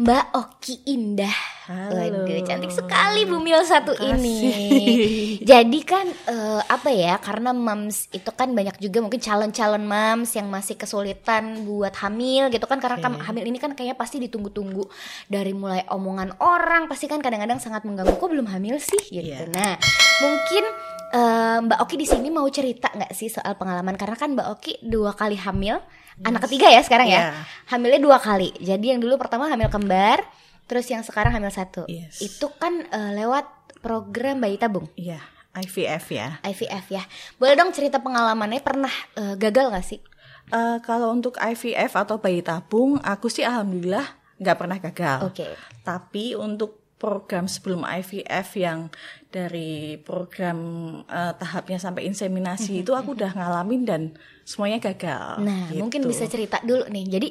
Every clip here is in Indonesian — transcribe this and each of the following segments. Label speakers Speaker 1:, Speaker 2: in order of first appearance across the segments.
Speaker 1: Mbak Oki Indah.
Speaker 2: Halo.
Speaker 1: Waduh, cantik sekali Bumil satu
Speaker 2: Makasih.
Speaker 1: ini. Jadi kan eh, apa ya? Karena moms itu kan banyak juga mungkin calon-calon moms yang masih kesulitan buat hamil gitu kan karena kam- hamil ini kan kayaknya pasti ditunggu-tunggu dari mulai omongan orang pasti kan kadang-kadang sangat mengganggu kok belum hamil sih gitu.
Speaker 2: Iya.
Speaker 1: Nah, mungkin eh, Mbak Oki di sini mau cerita nggak sih soal pengalaman karena kan Mbak Oki dua kali hamil, anak ketiga ya sekarang ya.
Speaker 2: Iya.
Speaker 1: Hamilnya dua kali. Jadi yang dulu pertama hamil kembar, terus yang sekarang hamil satu.
Speaker 2: Yes.
Speaker 1: Itu kan eh, lewat program bayi tabung
Speaker 2: Iya, IVF ya.
Speaker 1: IVF ya. Boleh dong cerita pengalamannya pernah eh, gagal gak sih?
Speaker 2: Eh, kalau untuk IVF atau bayi tabung, aku sih alhamdulillah nggak pernah gagal.
Speaker 1: Oke.
Speaker 2: Tapi untuk program sebelum IVF yang dari program eh, tahapnya sampai inseminasi itu aku udah ngalamin dan semuanya gagal.
Speaker 1: Mhm, Nah,
Speaker 2: gitu.
Speaker 1: mungkin bisa cerita dulu nih. Jadi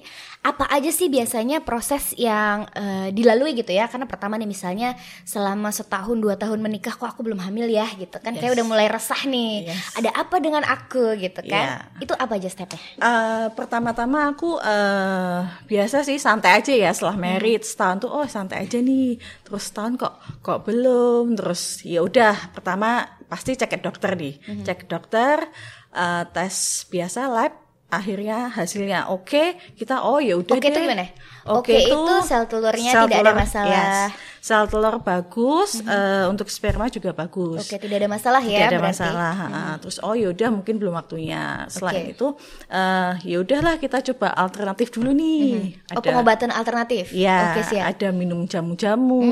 Speaker 1: apa aja sih biasanya proses yang eh, dilalui gitu ya? Karena pertama nih misalnya selama setahun dua tahun menikah kok aku belum hamil ya gitu kan? Kayak
Speaker 2: Yes.
Speaker 1: udah mulai resah nih.
Speaker 2: Yes.
Speaker 1: Ada apa dengan aku gitu kan?
Speaker 2: Iya.
Speaker 1: Itu apa aja stepnya?
Speaker 2: Eh, pertama-tama aku eh, biasa sih santai aja ya setelah
Speaker 1: Hmm.
Speaker 2: married setahun tuh oh santai aja nih terus setahun kok kok belum terus ya udah pertama pasti cek ke dokter nih
Speaker 1: Hmm.
Speaker 2: cek ke dokter eh, tes biasa lab akhirnya hasilnya oke kita oh ya udah
Speaker 1: Oke itu
Speaker 2: deh.
Speaker 1: gimana?
Speaker 2: Oke
Speaker 1: Oke itu sel telurnya
Speaker 2: sel
Speaker 1: tidak ada
Speaker 2: telur,
Speaker 1: masalah. Hmm.
Speaker 2: yes. sel telur bagus eh, untuk sperma juga bagus
Speaker 1: Oke tidak ada masalah ya?
Speaker 2: tidak ada
Speaker 1: berarti.
Speaker 2: masalah. Ah, Terus oh yaudah mungkin belum waktunya. Selain
Speaker 1: Iya. Oke.
Speaker 2: itu eh yaudahlah kita coba alternatif dulu nih.
Speaker 1: Oh pengobatan alternatif?
Speaker 2: Ya,
Speaker 1: Oke siap. Mhm.
Speaker 2: ada minum jamu-jamu,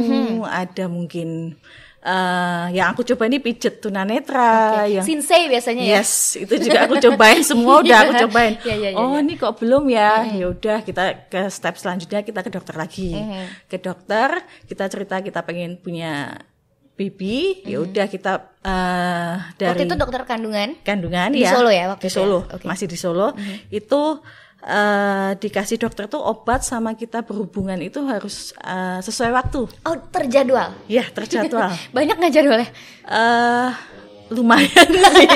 Speaker 2: ada mungkin eh yang aku coba ini pijet tunanetra
Speaker 1: Oke.
Speaker 2: yang
Speaker 1: Sinsei biasanya ya?
Speaker 2: Yes, itu juga aku cobain semua udah aku cobain.
Speaker 1: Iya, iya, iya, iya.
Speaker 2: oh,
Speaker 1: Mhm.
Speaker 2: ini kok belum ya? Ya udah kita ke step selanjutnya kita ke dokter lagi.
Speaker 1: Mhm.
Speaker 2: Ke dokter, kita cerita kita pengen punya baby, ya udah kita eh, dari
Speaker 1: Waktu itu Mhm. Oh, dokter kandungan?
Speaker 2: kandungan
Speaker 1: Di
Speaker 2: ya.
Speaker 1: Solo ya waktu
Speaker 2: di
Speaker 1: itu ya?
Speaker 2: Solo,
Speaker 1: Oke. Mm-hmm.
Speaker 2: masih di Solo. Itu eh, dikasih dokter tuh obat sama kita berhubungan itu harus eh, sesuai waktu.
Speaker 1: Oh terjadwal?
Speaker 2: Ya, terjadwal.
Speaker 1: Banyak nggak jadwalnya?
Speaker 2: eh lumayan sih.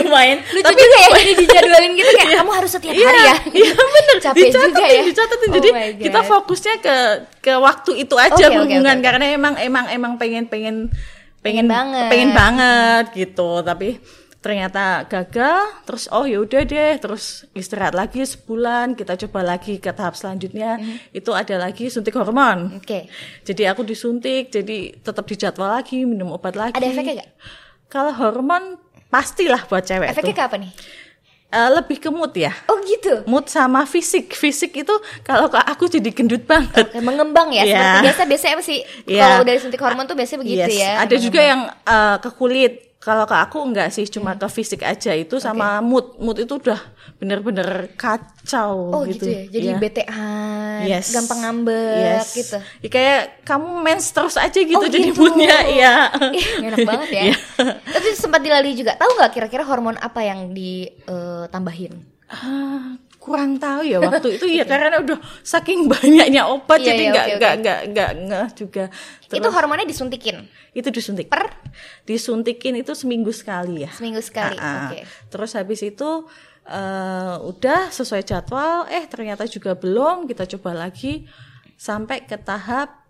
Speaker 2: lumayan.
Speaker 1: Lucu juga ya ini dijadwalin gitu kayak kamu harus setiap hari ya.
Speaker 2: Iya bener
Speaker 1: Capek
Speaker 2: dicatetin,
Speaker 1: juga ya.
Speaker 2: dicatetin.
Speaker 1: Oh
Speaker 2: Jadi
Speaker 1: my God.
Speaker 2: kita fokusnya ke ke waktu itu aja
Speaker 1: Oke, oke,
Speaker 2: berhubungan
Speaker 1: oke, oke.
Speaker 2: karena emang emang emang pengen pengen
Speaker 1: Pengen
Speaker 2: pengen
Speaker 1: banget.
Speaker 2: pengen banget gitu tapi ternyata gagal terus oh ya udah deh terus istirahat lagi sebulan kita coba lagi ke tahap selanjutnya
Speaker 1: Mm-hmm.
Speaker 2: itu ada lagi suntik hormon
Speaker 1: Oke.
Speaker 2: jadi aku disuntik jadi tetap dijadwal lagi minum obat lagi
Speaker 1: Ada efeknya nggak?
Speaker 2: kalau hormon pastilah buat cewek
Speaker 1: Efeknya
Speaker 2: tuh.
Speaker 1: ke apa nih?
Speaker 2: Eh, lebih ke mood ya
Speaker 1: Oh gitu.
Speaker 2: mood sama fisik fisik itu kalau ke aku jadi gendut banget
Speaker 1: Kayak mengembang ya.
Speaker 2: Iya.
Speaker 1: Seperti biasa biasanya sih
Speaker 2: Iya.
Speaker 1: kalau udah disuntik hormon tuh biasanya begitu
Speaker 2: Yes,
Speaker 1: ya.
Speaker 2: ada juga yang eh, ke kulit kalau ke aku enggak sih cuma ke fisik aja itu sama mood mood itu udah bener-bener kacau
Speaker 1: Oh
Speaker 2: gitu,
Speaker 1: gitu, ya. Jadi
Speaker 2: Iya.
Speaker 1: BTA,
Speaker 2: Yes.
Speaker 1: gampang ngambek
Speaker 2: Yes.
Speaker 1: gitu.
Speaker 2: Ya, kayak kamu mens terus aja gitu
Speaker 1: Oh,
Speaker 2: jadi
Speaker 1: gitu.
Speaker 2: moodnya iya
Speaker 1: Ih, enak banget ya.
Speaker 2: Iya.
Speaker 1: Tapi sempat dilalui juga. Tahu nggak kira-kira hormon apa yang eh, ditambahin?
Speaker 2: Ah, kurang tahu ya waktu itu ya karena udah saking banyaknya obat
Speaker 1: Iya,
Speaker 2: jadi
Speaker 1: iya,
Speaker 2: nggak
Speaker 1: oke, oke.
Speaker 2: nggak nggak nggak ngeh juga
Speaker 1: Itu
Speaker 2: Terus-
Speaker 1: hormonnya disuntikin
Speaker 2: itu disuntik
Speaker 1: per
Speaker 2: disuntikin itu seminggu sekali ya
Speaker 1: seminggu sekali.
Speaker 2: Ah, ah.
Speaker 1: Oke.
Speaker 2: terus habis itu eh, udah sesuai jadwal eh ternyata juga belum kita coba lagi sampai ke tahap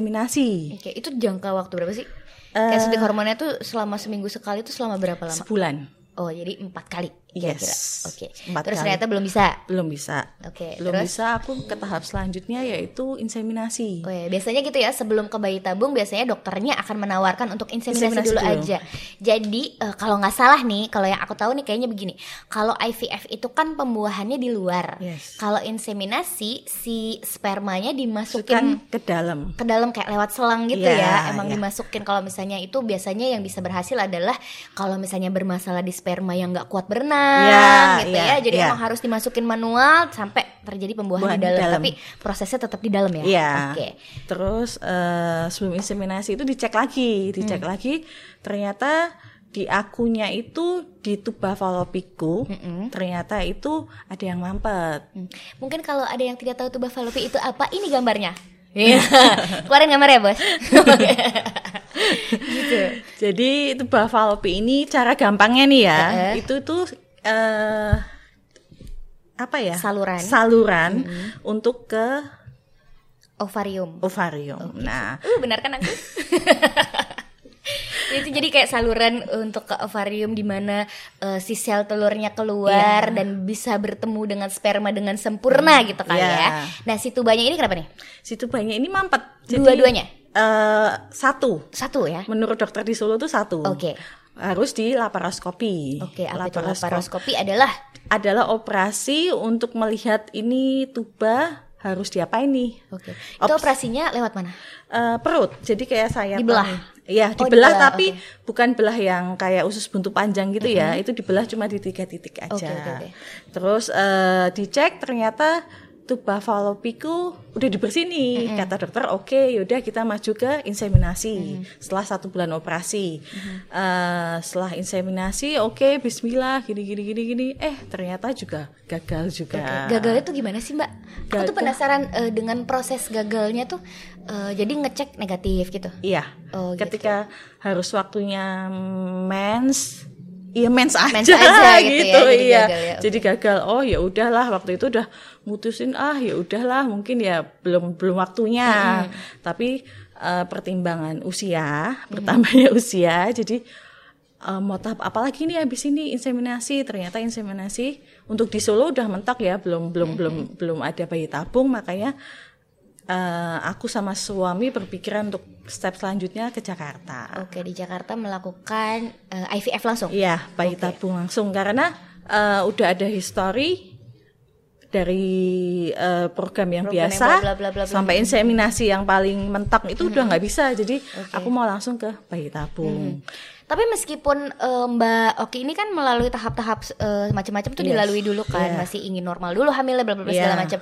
Speaker 2: inseminasi
Speaker 1: Oke, itu jangka waktu berapa sih?
Speaker 2: Eh,
Speaker 1: Kayak suntik hormonnya tuh selama seminggu sekali tuh selama berapa lama?
Speaker 2: sebulan
Speaker 1: Oh, jadi empat kali.
Speaker 2: Yes.
Speaker 1: kira-kira. Oke.
Speaker 2: Empat
Speaker 1: Terus
Speaker 2: kali.
Speaker 1: ternyata belum bisa.
Speaker 2: belum bisa
Speaker 1: Oke,
Speaker 2: belum
Speaker 1: terus?
Speaker 2: bisa aku ke tahap selanjutnya yaitu inseminasi
Speaker 1: Oh ya, biasanya gitu ya, sebelum ke bayi tabung biasanya dokternya akan menawarkan untuk inseminasi,
Speaker 2: Inseminasi
Speaker 1: dulu,
Speaker 2: dulu.
Speaker 1: aja. Jadi eh, kalau nggak salah nih, kalau yang aku tahu nih kayaknya begini. Kalau IVF itu kan pembuahannya di luar.
Speaker 2: Yes.
Speaker 1: Kalau inseminasi si spermanya dimasukin
Speaker 2: Masukkan ke dalam
Speaker 1: ke dalam kayak lewat selang gitu
Speaker 2: Iya,
Speaker 1: ya emang
Speaker 2: iya.
Speaker 1: dimasukin kalau misalnya itu biasanya yang bisa berhasil adalah kalau misalnya bermasalah di sperma yang nggak kuat berenang
Speaker 2: Iya,
Speaker 1: gitu
Speaker 2: iya,
Speaker 1: ya jadi
Speaker 2: iya.
Speaker 1: emang harus dimasukin manual sampai terjadi pembuahan di
Speaker 2: Buahan di
Speaker 1: dalam.
Speaker 2: dalam.
Speaker 1: tapi prosesnya tetap di dalam ya
Speaker 2: Iya.
Speaker 1: oke
Speaker 2: Terus eh, sebelum inseminasi itu dicek lagi, dicek
Speaker 1: Hmm.
Speaker 2: lagi. Ternyata di akunya itu di tuba falopiku, ternyata itu ada yang mampet.
Speaker 1: Hmm. mungkin kalau ada yang tidak tahu tuba falopi itu apa ini gambarnya Iya, keluarin gambar ya bos. gitu.
Speaker 2: Jadi tuba falopi ini cara gampangnya nih ya,
Speaker 1: Heeh.
Speaker 2: itu tuh eh apa ya?
Speaker 1: Saluran. Hmm.
Speaker 2: Saluran untuk ke
Speaker 1: ovarium.
Speaker 2: ovarium. Nah,
Speaker 1: Uh, benar kan aku? Ya, itu jadi kayak saluran untuk ke ovarium di mana eh, si sel telurnya keluar dan bisa bertemu dengan sperma dengan sempurna gitu kan
Speaker 2: Iya.
Speaker 1: ya. Nah, si tubanya ini kenapa nih?
Speaker 2: si tubanya ini mampet. Jadi,
Speaker 1: Dua-duanya?
Speaker 2: eh, satu.
Speaker 1: Satu ya.
Speaker 2: Menurut dokter di Solo tuh satu.
Speaker 1: Oke.
Speaker 2: Harus di laparoskopi.
Speaker 1: Oke, apa itu
Speaker 2: Laparoskop-
Speaker 1: laparoskopi adalah
Speaker 2: Adalah operasi untuk melihat ini tuba harus diapain nih?
Speaker 1: Oke. Itu
Speaker 2: Ops.
Speaker 1: operasinya lewat mana?
Speaker 2: Eh, perut. Jadi kayak saya
Speaker 1: Dibelah?
Speaker 2: Iya,
Speaker 1: Oh, dibelah,
Speaker 2: dibelah tapi bukan belah yang kayak usus buntu panjang gitu ya. Itu dibelah cuma di tiga titik aja.
Speaker 1: Mm-hmm. Oke, oke, oke.
Speaker 2: Terus eh, dicek ternyata tuba falopiku udah dibersihin nih.
Speaker 1: Mm-hmm.
Speaker 2: Kata dokter, "Oke, yaudah kita maju ke inseminasi."
Speaker 1: Mm-hmm.
Speaker 2: Setelah satu bulan operasi. Eh, setelah inseminasi, oke, bismillah gini gini gini gini. Eh, ternyata juga gagal juga.
Speaker 1: Gagalnya tuh gimana sih, Mbak? Aku tuh
Speaker 2: Ya. Gagal.
Speaker 1: penasaran eh, dengan proses gagalnya tuh eh, jadi ngecek negatif gitu.
Speaker 2: Iya.
Speaker 1: Oh, gitu.
Speaker 2: Ketika harus waktunya mens, iya mens aja,
Speaker 1: Mens aja gitu
Speaker 2: gitu,
Speaker 1: ya, jadi gagal ya,
Speaker 2: iya.
Speaker 1: oke.
Speaker 2: Jadi gagal. Oh ya udahlah, waktu itu udah mutusin ah ya udahlah, mungkin ya belum belum waktunya. Tapi eh, pertimbangan usia, pertama ya usia. Jadi eh, mau tahap apalagi nih habis ini inseminasi. Ternyata inseminasi untuk di Solo udah mentok ya, belum belum belum belum ada bayi tabung, makanya eh, aku sama suami berpikiran untuk step selanjutnya ke Jakarta.
Speaker 1: Oke, di Jakarta melakukan eh, IVF langsung.
Speaker 2: Iya, bayi tabung langsung karena eh, udah ada histori dari eh, program yang
Speaker 1: Program yang
Speaker 2: biasa
Speaker 1: bla bla bla bla
Speaker 2: sampai inseminasi yang paling mentok itu udah nggak bisa. Jadi aku mau langsung ke bayi tabung.
Speaker 1: Tapi meskipun eh, Mbak Oki ini kan melalui tahap-tahap eh, macam-macam tuh
Speaker 2: Yes. Iya.
Speaker 1: dilalui dulu kan,
Speaker 2: Yeah.
Speaker 1: masih ingin normal dulu hamilnya bla bla bla segala
Speaker 2: Yeah.
Speaker 1: macam.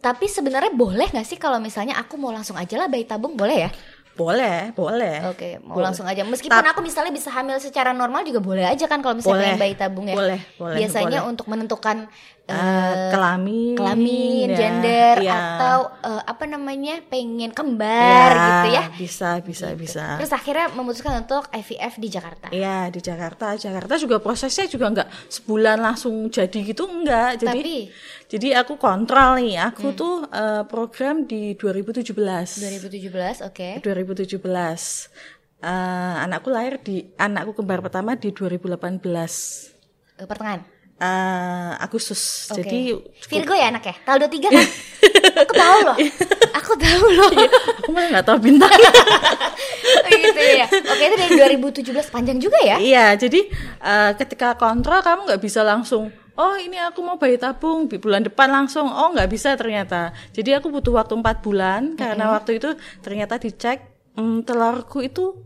Speaker 1: Tapi sebenarnya boleh nggak sih kalau misalnya aku mau langsung aja lah bayi tabung boleh ya?
Speaker 2: Boleh, boleh.
Speaker 1: Oke, mau
Speaker 2: Eh, Boleh.
Speaker 1: langsung aja. Meskipun
Speaker 2: Tap-
Speaker 1: aku misalnya bisa hamil secara normal juga boleh aja kan kalau misalnya
Speaker 2: Boleh,
Speaker 1: pengen bayi tabung ya.
Speaker 2: boleh, boleh,
Speaker 1: Biasanya
Speaker 2: boleh.
Speaker 1: untuk menentukan eh,
Speaker 2: Eh, kelamin,
Speaker 1: kelamin,
Speaker 2: ya,
Speaker 1: gender
Speaker 2: iya.
Speaker 1: atau eh, apa namanya pengen
Speaker 2: Ya,
Speaker 1: kembar gitu ya.
Speaker 2: Bisa, bisa, bisa.
Speaker 1: Terus akhirnya memutuskan untuk IVF di Jakarta.
Speaker 2: Iya di Jakarta. Jakarta juga prosesnya juga nggak sebulan langsung jadi gitu enggak. Jadi
Speaker 1: Tapi- Hmm.
Speaker 2: jadi aku kontrol nih. Aku tuh eh, program di 2017.
Speaker 1: 2017, oke.
Speaker 2: 2017. Eh, anakku lahir di anakku kembar pertama di 2018
Speaker 1: Eh, Pertengahan.
Speaker 2: eh, Agustus.
Speaker 1: Oke.
Speaker 2: Jadi
Speaker 1: Virgo ya anaknya. Tanggal 23 kan? aku tahu loh. Aku tahu loh.
Speaker 2: aku malah nggak tahu bintang.
Speaker 1: gitu ya. Oke, itu dari 2017 panjang juga ya.
Speaker 2: Iya, jadi eh, ketika kontrol kamu nggak bisa langsung. Oh ini aku mau bayi tabung bi- bulan depan langsung. Oh nggak bisa ternyata. Jadi aku butuh waktu 4 bulan karena waktu itu ternyata dicek mm, telurku itu.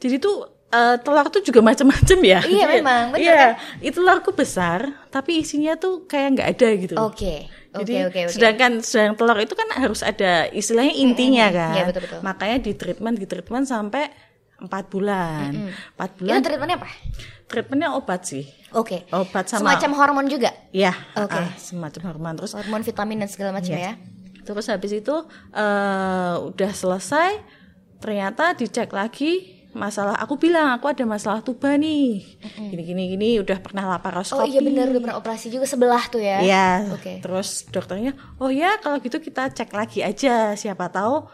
Speaker 2: Jadi tuh eh, telur tuh juga macam-macam ya.
Speaker 1: Iya, memang, bener
Speaker 2: Iya, itu telurku besar tapi isinya tuh kayak nggak ada gitu.
Speaker 1: Oke. Oh, Oke,
Speaker 2: Jadi
Speaker 1: oke, oke.
Speaker 2: sedangkan sedang telur itu kan harus ada istilahnya intinya kan.
Speaker 1: Iya, betul-betul.
Speaker 2: Makanya di treatment di treatment sampai 4 bulan. 4 bulan
Speaker 1: Itu treatmentnya apa?
Speaker 2: treatmentnya obat sih
Speaker 1: Oke.
Speaker 2: obat sama
Speaker 1: Semacam hormon juga.
Speaker 2: ya
Speaker 1: Oke.
Speaker 2: ah, semacam hormon
Speaker 1: Iya,
Speaker 2: terus
Speaker 1: Hormon vitamin dan segala macam ya.
Speaker 2: Iya. terus habis itu eh, udah selesai ternyata dicek lagi masalah aku bilang aku ada masalah tuba nih gini gini gini udah pernah laparoskopi
Speaker 1: Oh iya benar udah pernah operasi juga sebelah tuh ya.
Speaker 2: Iya.
Speaker 1: Oke.
Speaker 2: Terus dokternya, oh ya kalau gitu kita cek lagi aja, siapa tahu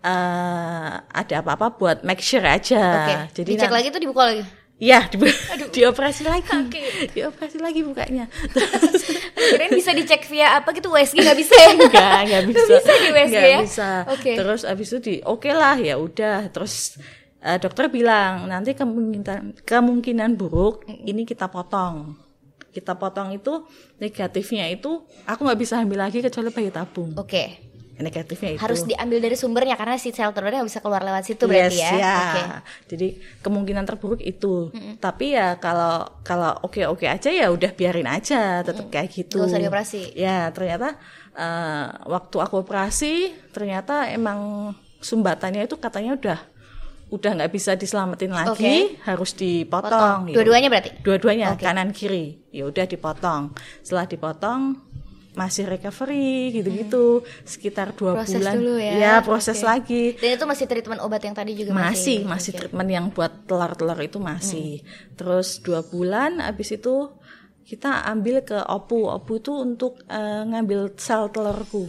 Speaker 2: eh ada apa-apa buat make sure aja.
Speaker 1: Oke.
Speaker 2: Jadi
Speaker 1: Dicek
Speaker 2: nan-
Speaker 1: lagi tuh dibuka lagi.
Speaker 2: Ya, di- dioperasi lagi. Dioperasi lagi bukanya.
Speaker 1: Kirain bisa dicek via apa gitu USG nggak bisa ya?
Speaker 2: Enggak, enggak bisa.
Speaker 1: Nggak bisa di USG
Speaker 2: Nggak
Speaker 1: ya?
Speaker 2: bisa.
Speaker 1: Oke.
Speaker 2: Terus abis itu di oke lah ya udah. Terus eh, dokter bilang nanti kemungkinan kemungkinan buruk ini kita potong. Kita potong itu negatifnya itu aku nggak bisa ambil lagi kecuali bayi tabung.
Speaker 1: Oke.
Speaker 2: Negatifnya itu.
Speaker 1: Harus diambil dari sumbernya karena si sel telurnya nggak bisa keluar lewat situ
Speaker 2: Yes,
Speaker 1: berarti ya.
Speaker 2: ya.
Speaker 1: Oke.
Speaker 2: Jadi kemungkinan terburuk itu. Tapi ya kalau kalau oke-oke aja ya udah biarin aja tetap kayak gitu.
Speaker 1: Nggak usah dioperasi.
Speaker 2: Ya, ternyata eh, waktu aku operasi ternyata emang sumbatannya itu katanya udah udah nggak bisa diselamatin lagi, harus
Speaker 1: Potong.
Speaker 2: dipotong. gitu.
Speaker 1: Dua-duanya berarti.
Speaker 2: Dua-duanya
Speaker 1: Oke.
Speaker 2: kanan kiri. Ya udah dipotong. Setelah dipotong masih recovery gitu-gitu sekitar dua
Speaker 1: Proses
Speaker 2: bulan.
Speaker 1: dulu ya.
Speaker 2: proses
Speaker 1: Oke.
Speaker 2: lagi
Speaker 1: Dan itu masih treatment obat yang tadi juga
Speaker 2: masih
Speaker 1: masih.
Speaker 2: masih treatment yang buat telur-telur itu masih terus dua bulan abis itu kita ambil ke opu opu itu untuk eh, ngambil sel telurku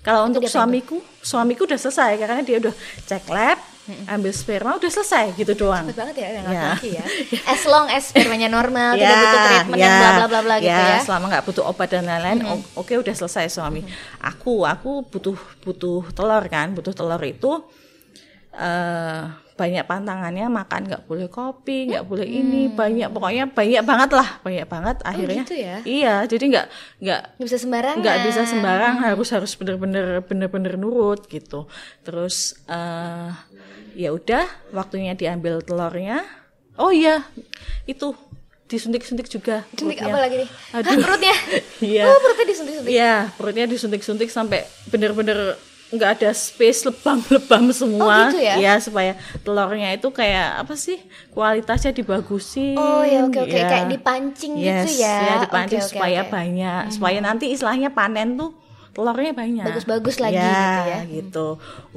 Speaker 2: Kalau untuk
Speaker 1: diapain
Speaker 2: suamiku, suamiku udah selesai karena dia udah cek lab, ambil sperma udah selesai gitu doang.
Speaker 3: Cepet banget ya yang
Speaker 2: Ya.
Speaker 3: laki-laki ya.
Speaker 1: As long as spermanya normal, tidak butuh treatment yang bla bla bla bla gitu ya.
Speaker 2: Selama nggak butuh obat dan lain-lain, o- oke udah selesai suami. Aku aku butuh butuh telur kan, butuh telur itu eh banyak pantangannya makan nggak boleh kopi, nggak boleh ini, banyak pokoknya banyak banget lah, banyak banget
Speaker 1: Oh,
Speaker 2: akhirnya.
Speaker 3: gitu ya?
Speaker 2: Iya, jadi nggak nggak
Speaker 1: Nggak bisa sembarangan.
Speaker 2: nggak bisa sembarang harus harus bener-bener bener-bener nurut gitu terus eh ya udah waktunya diambil telurnya oh iya itu disuntik-suntik juga
Speaker 1: Suntik
Speaker 2: perutnya.
Speaker 1: apa lagi nih? Hah,
Speaker 2: ya. Aduh.
Speaker 1: perutnya.
Speaker 2: iya
Speaker 1: Oh, perutnya disuntik-suntik.
Speaker 2: iya perutnya disuntik-suntik sampai bener-bener nggak ada space lebam-lebam
Speaker 1: Oh,
Speaker 2: semua
Speaker 1: gitu ya?
Speaker 2: Iya, supaya telurnya itu kayak apa sih kualitasnya dibagusin
Speaker 1: Oh ya oke oke
Speaker 2: Iya.
Speaker 1: kayak dipancing
Speaker 2: Yes,
Speaker 1: gitu ya.
Speaker 2: ya dipancing
Speaker 1: Oke, oke,
Speaker 2: supaya
Speaker 1: oke. Hmm.
Speaker 2: banyak, supaya nanti istilahnya panen tuh telurnya banyak.
Speaker 1: Bagus-bagus lagi
Speaker 2: Ya,
Speaker 1: gitu ya.
Speaker 2: gitu.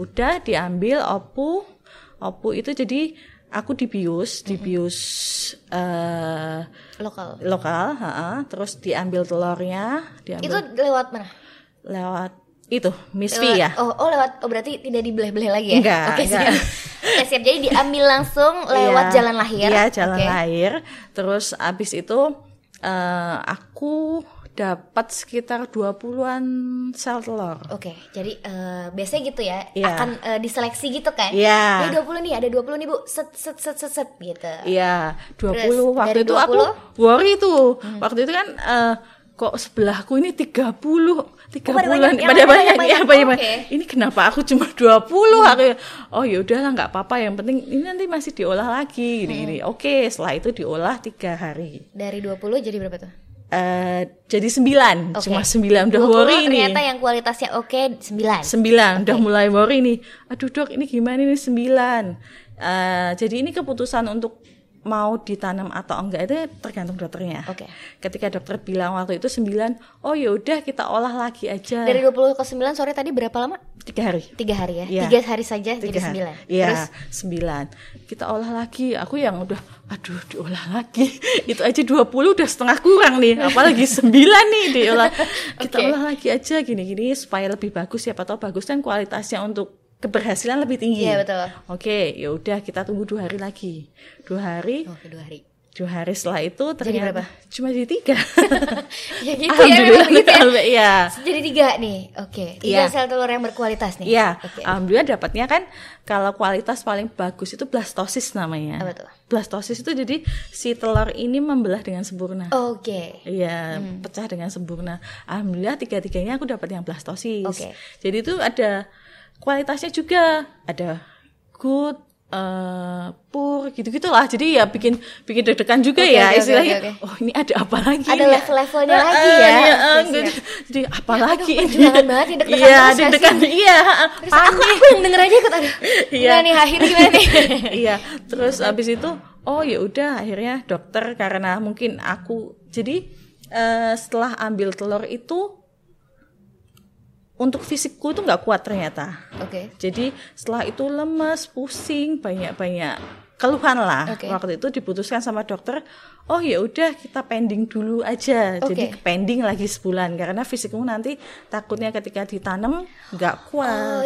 Speaker 2: Udah diambil opu, opu itu jadi aku
Speaker 1: Hmm.
Speaker 2: dibius, dibius eh,
Speaker 1: lokal.
Speaker 2: lokal, ha-ha. terus diambil telurnya,
Speaker 1: Itu
Speaker 2: diambil
Speaker 1: lewat mana?
Speaker 2: lewat itu misfi
Speaker 1: Lewat-
Speaker 2: ya.
Speaker 1: Oh, oh lewat oh berarti tidak dibelah-belah lagi ya.
Speaker 2: Enggak,
Speaker 1: Oke,
Speaker 2: enggak.
Speaker 1: siap. Oke, siap. Jadi diambil langsung lewat
Speaker 2: Iya.
Speaker 1: jalan lahir.
Speaker 2: Iya, jalan
Speaker 1: Oke.
Speaker 2: lahir. Terus abis itu eh, aku dapat sekitar 20-an sel telur.
Speaker 1: Oke, jadi eh, biasanya gitu ya,
Speaker 2: Iya.
Speaker 1: akan eh, diseleksi gitu kan?
Speaker 2: Iya.
Speaker 1: Ini 20 nih, ada 20 nih bu, set set set set, set gitu.
Speaker 2: Iya, 20
Speaker 1: Terus,
Speaker 2: waktu
Speaker 1: dari Hmm.
Speaker 2: itu aku
Speaker 1: 20?
Speaker 2: worry tuh. Waktu itu kan eh, kok sebelahku ini 30
Speaker 1: Oh,
Speaker 2: tiga
Speaker 1: pada
Speaker 2: bulan
Speaker 1: banyak, yang lain
Speaker 2: pada banyak
Speaker 1: banyak-banyak.
Speaker 2: ya banyak, banyak.
Speaker 1: Oke. Hmm.
Speaker 2: Ini kenapa aku cuma 20 aku oh ya udahlah nggak apa-apa yang penting ini nanti masih diolah lagi
Speaker 1: Hmm.
Speaker 2: gini gini. Oke, setelah itu diolah tiga hari.
Speaker 1: Dari 20 jadi berapa tuh?
Speaker 2: Eh, jadi 9,
Speaker 1: Oke.
Speaker 2: cuma 9 udah
Speaker 1: 20
Speaker 2: worry nih.
Speaker 1: ternyata ya? yang kualitasnya oke 9.
Speaker 2: Sembilan, udah mulai worry nih. Aduh dok, ini gimana nih sembilan? Eh, jadi ini keputusan untuk mau ditanam atau enggak itu tergantung dokternya.
Speaker 1: Oke.
Speaker 2: Ketika dokter bilang waktu itu sembilan, oh ya udah kita olah lagi aja.
Speaker 1: Dari 20 ke 9 sore tadi berapa lama?
Speaker 2: tiga hari.
Speaker 1: 3 hari ya.
Speaker 2: Iya.
Speaker 1: 3 hari saja jadi
Speaker 2: Tiga hari.
Speaker 1: 9.
Speaker 2: Iya,
Speaker 1: Terus
Speaker 2: sembilan. Kita olah lagi. Aku yang udah, aduh diolah lagi. itu aja 20 udah setengah kurang nih. Apalagi sembilan nih diolah.
Speaker 1: Oke.
Speaker 2: Kita olah lagi aja gini-gini supaya lebih bagus. Siapa tahu bagus kan kualitasnya untuk keberhasilan lebih tinggi.
Speaker 1: Iya, betul.
Speaker 2: Oke, ya udah kita tunggu dua hari lagi. Dua hari,
Speaker 1: oke 2 hari.
Speaker 2: dua hari setelah itu
Speaker 1: berapa?
Speaker 2: ternyata cuma jadi tiga.
Speaker 1: ya gitu ya
Speaker 2: Alhamdulillah
Speaker 1: memang gitu ya.
Speaker 2: alhamdulillah, iya.
Speaker 1: Jadi 3 nih. Oke. Tiga
Speaker 2: Iya.
Speaker 1: sel telur yang berkualitas nih.
Speaker 2: Iya,
Speaker 1: Oke.
Speaker 2: alhamdulillah dapatnya kan kalau kualitas paling bagus itu blastosis namanya.
Speaker 1: Apa tuh?
Speaker 2: Blastosis itu jadi si telur ini membelah dengan sempurna.
Speaker 1: Oke.
Speaker 2: Iya,
Speaker 1: Hmm.
Speaker 2: pecah dengan sempurna. Alhamdulillah tiga-tiganya aku dapat yang blastosis.
Speaker 1: Oke.
Speaker 2: Jadi itu ada kualitasnya juga, ada good, eh poor gitu-gitulah. Jadi ya bikin bikin deg-degan juga
Speaker 1: Oke, oke,
Speaker 2: ya
Speaker 1: oke,
Speaker 2: istilahnya.
Speaker 1: oke,
Speaker 2: Oh, ini ada apa lagi?
Speaker 1: Ada
Speaker 2: nih?
Speaker 1: level-levelnya
Speaker 2: Eh,
Speaker 1: lagi
Speaker 2: eh,
Speaker 1: ya.
Speaker 2: iya, eh,
Speaker 1: Oke, Ya,
Speaker 2: jadi- Jadi apa lagi ini?
Speaker 1: perjuangan banget nih, deg-degan
Speaker 2: Iya,
Speaker 1: terus nggak sih?
Speaker 2: deg-degan. Iya, eh,
Speaker 1: Terus
Speaker 2: panik.
Speaker 1: aku, aku yang denger aja ikut aduh.
Speaker 2: Iya.
Speaker 1: Gimana nih akhir gimana nih?
Speaker 2: iya terus abis itu oh ya udah akhirnya dokter karena mungkin aku jadi eh, setelah ambil telur itu untuk fisikku itu nggak kuat ternyata
Speaker 1: Oke.
Speaker 2: jadi setelah itu lemes pusing banyak banyak keluhan lah
Speaker 1: Oke.
Speaker 2: waktu itu diputuskan sama dokter oh ya udah kita pending dulu aja jadi
Speaker 1: Oke.
Speaker 2: pending lagi sebulan karena fisikmu nanti takutnya ketika ditanam nggak kuat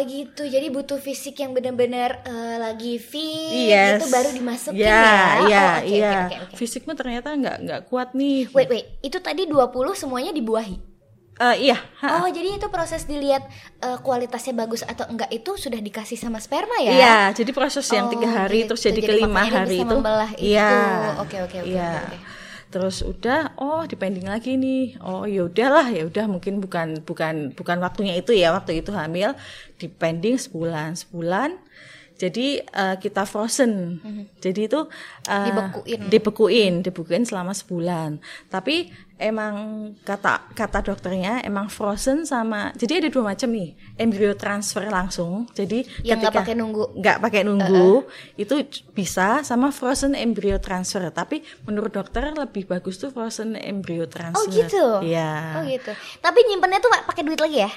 Speaker 1: Oh gitu, jadi butuh fisik yang benar-benar eh, lagi fit
Speaker 2: Yes.
Speaker 1: Iya, itu baru dimasukin ya.
Speaker 2: ya. Iya,
Speaker 1: Oh, oke,
Speaker 2: iya.
Speaker 1: oke, oke, oke.
Speaker 2: Fisikmu ternyata nggak nggak kuat nih.
Speaker 1: Wait, wait. Itu tadi 20 semuanya dibuahi.
Speaker 2: Eh, iya.
Speaker 1: Oh,
Speaker 2: Ha.
Speaker 1: jadi itu proses dilihat eh, kualitasnya bagus atau enggak itu sudah dikasih sama sperma ya?
Speaker 2: Iya, jadi proses
Speaker 1: Oh,
Speaker 2: yang tiga hari terus
Speaker 1: gitu.
Speaker 2: jadi,
Speaker 1: Jadi makanya
Speaker 2: kelima
Speaker 1: dia
Speaker 2: hari
Speaker 1: bisa
Speaker 2: itu.
Speaker 1: membelah itu.
Speaker 2: Iya.
Speaker 1: Oke, oke, oke,
Speaker 2: Iya.
Speaker 1: oke, oke.
Speaker 2: Terus udah, oh dipending lagi nih. Oh ya udahlah, ya udah mungkin bukan bukan bukan waktunya itu ya. Waktu itu hamil dipending sebulan sebulan. Jadi eh, kita frozen. Jadi itu eh,
Speaker 1: Mhm. Dibekuin.
Speaker 2: dibekuin, dibekuin selama sebulan. Tapi emang kata kata dokternya emang frozen sama. Jadi ada dua macam nih, embrio transfer langsung. Jadi
Speaker 1: Yang nggak
Speaker 2: ketika-
Speaker 1: pakai nunggu.
Speaker 2: nggak pakai nunggu itu c- bisa sama frozen embryo transfer tapi menurut dokter lebih bagus tuh frozen embryo transfer
Speaker 1: Oh gitu. Oh
Speaker 2: Iya.
Speaker 1: gitu. Tapi nyimpennya tuh pakai duit lagi ya?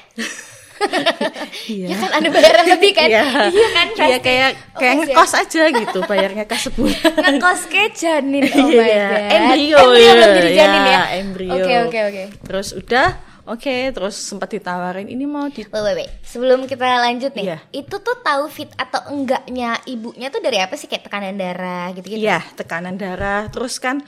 Speaker 1: ya
Speaker 2: Iya.
Speaker 1: kan ada bayaran lebih kan?
Speaker 2: Iya.
Speaker 1: Iya kan?
Speaker 2: Iya,
Speaker 1: pasti.
Speaker 2: kayak
Speaker 1: Oh,
Speaker 2: kayak
Speaker 1: pasti ya.
Speaker 2: ngekos aja gitu bayarnya kas sebulan
Speaker 1: Ngekos ke janin. Oh my
Speaker 2: Iya,
Speaker 1: god.
Speaker 2: Embrio,
Speaker 1: Embrio belum jadi
Speaker 2: iya,
Speaker 1: janin ya.
Speaker 2: embrio.
Speaker 1: Oke, oke, oke.
Speaker 2: Terus udah, Oke, terus sempat ditawarin ini mau di
Speaker 1: Wait, wait, wait. Sebelum kita lanjut nih,
Speaker 2: Iya.
Speaker 1: itu tuh tahu fit atau enggaknya ibunya tuh dari apa sih kayak tekanan darah gitu-gitu.
Speaker 2: Iya, tekanan darah. Terus kan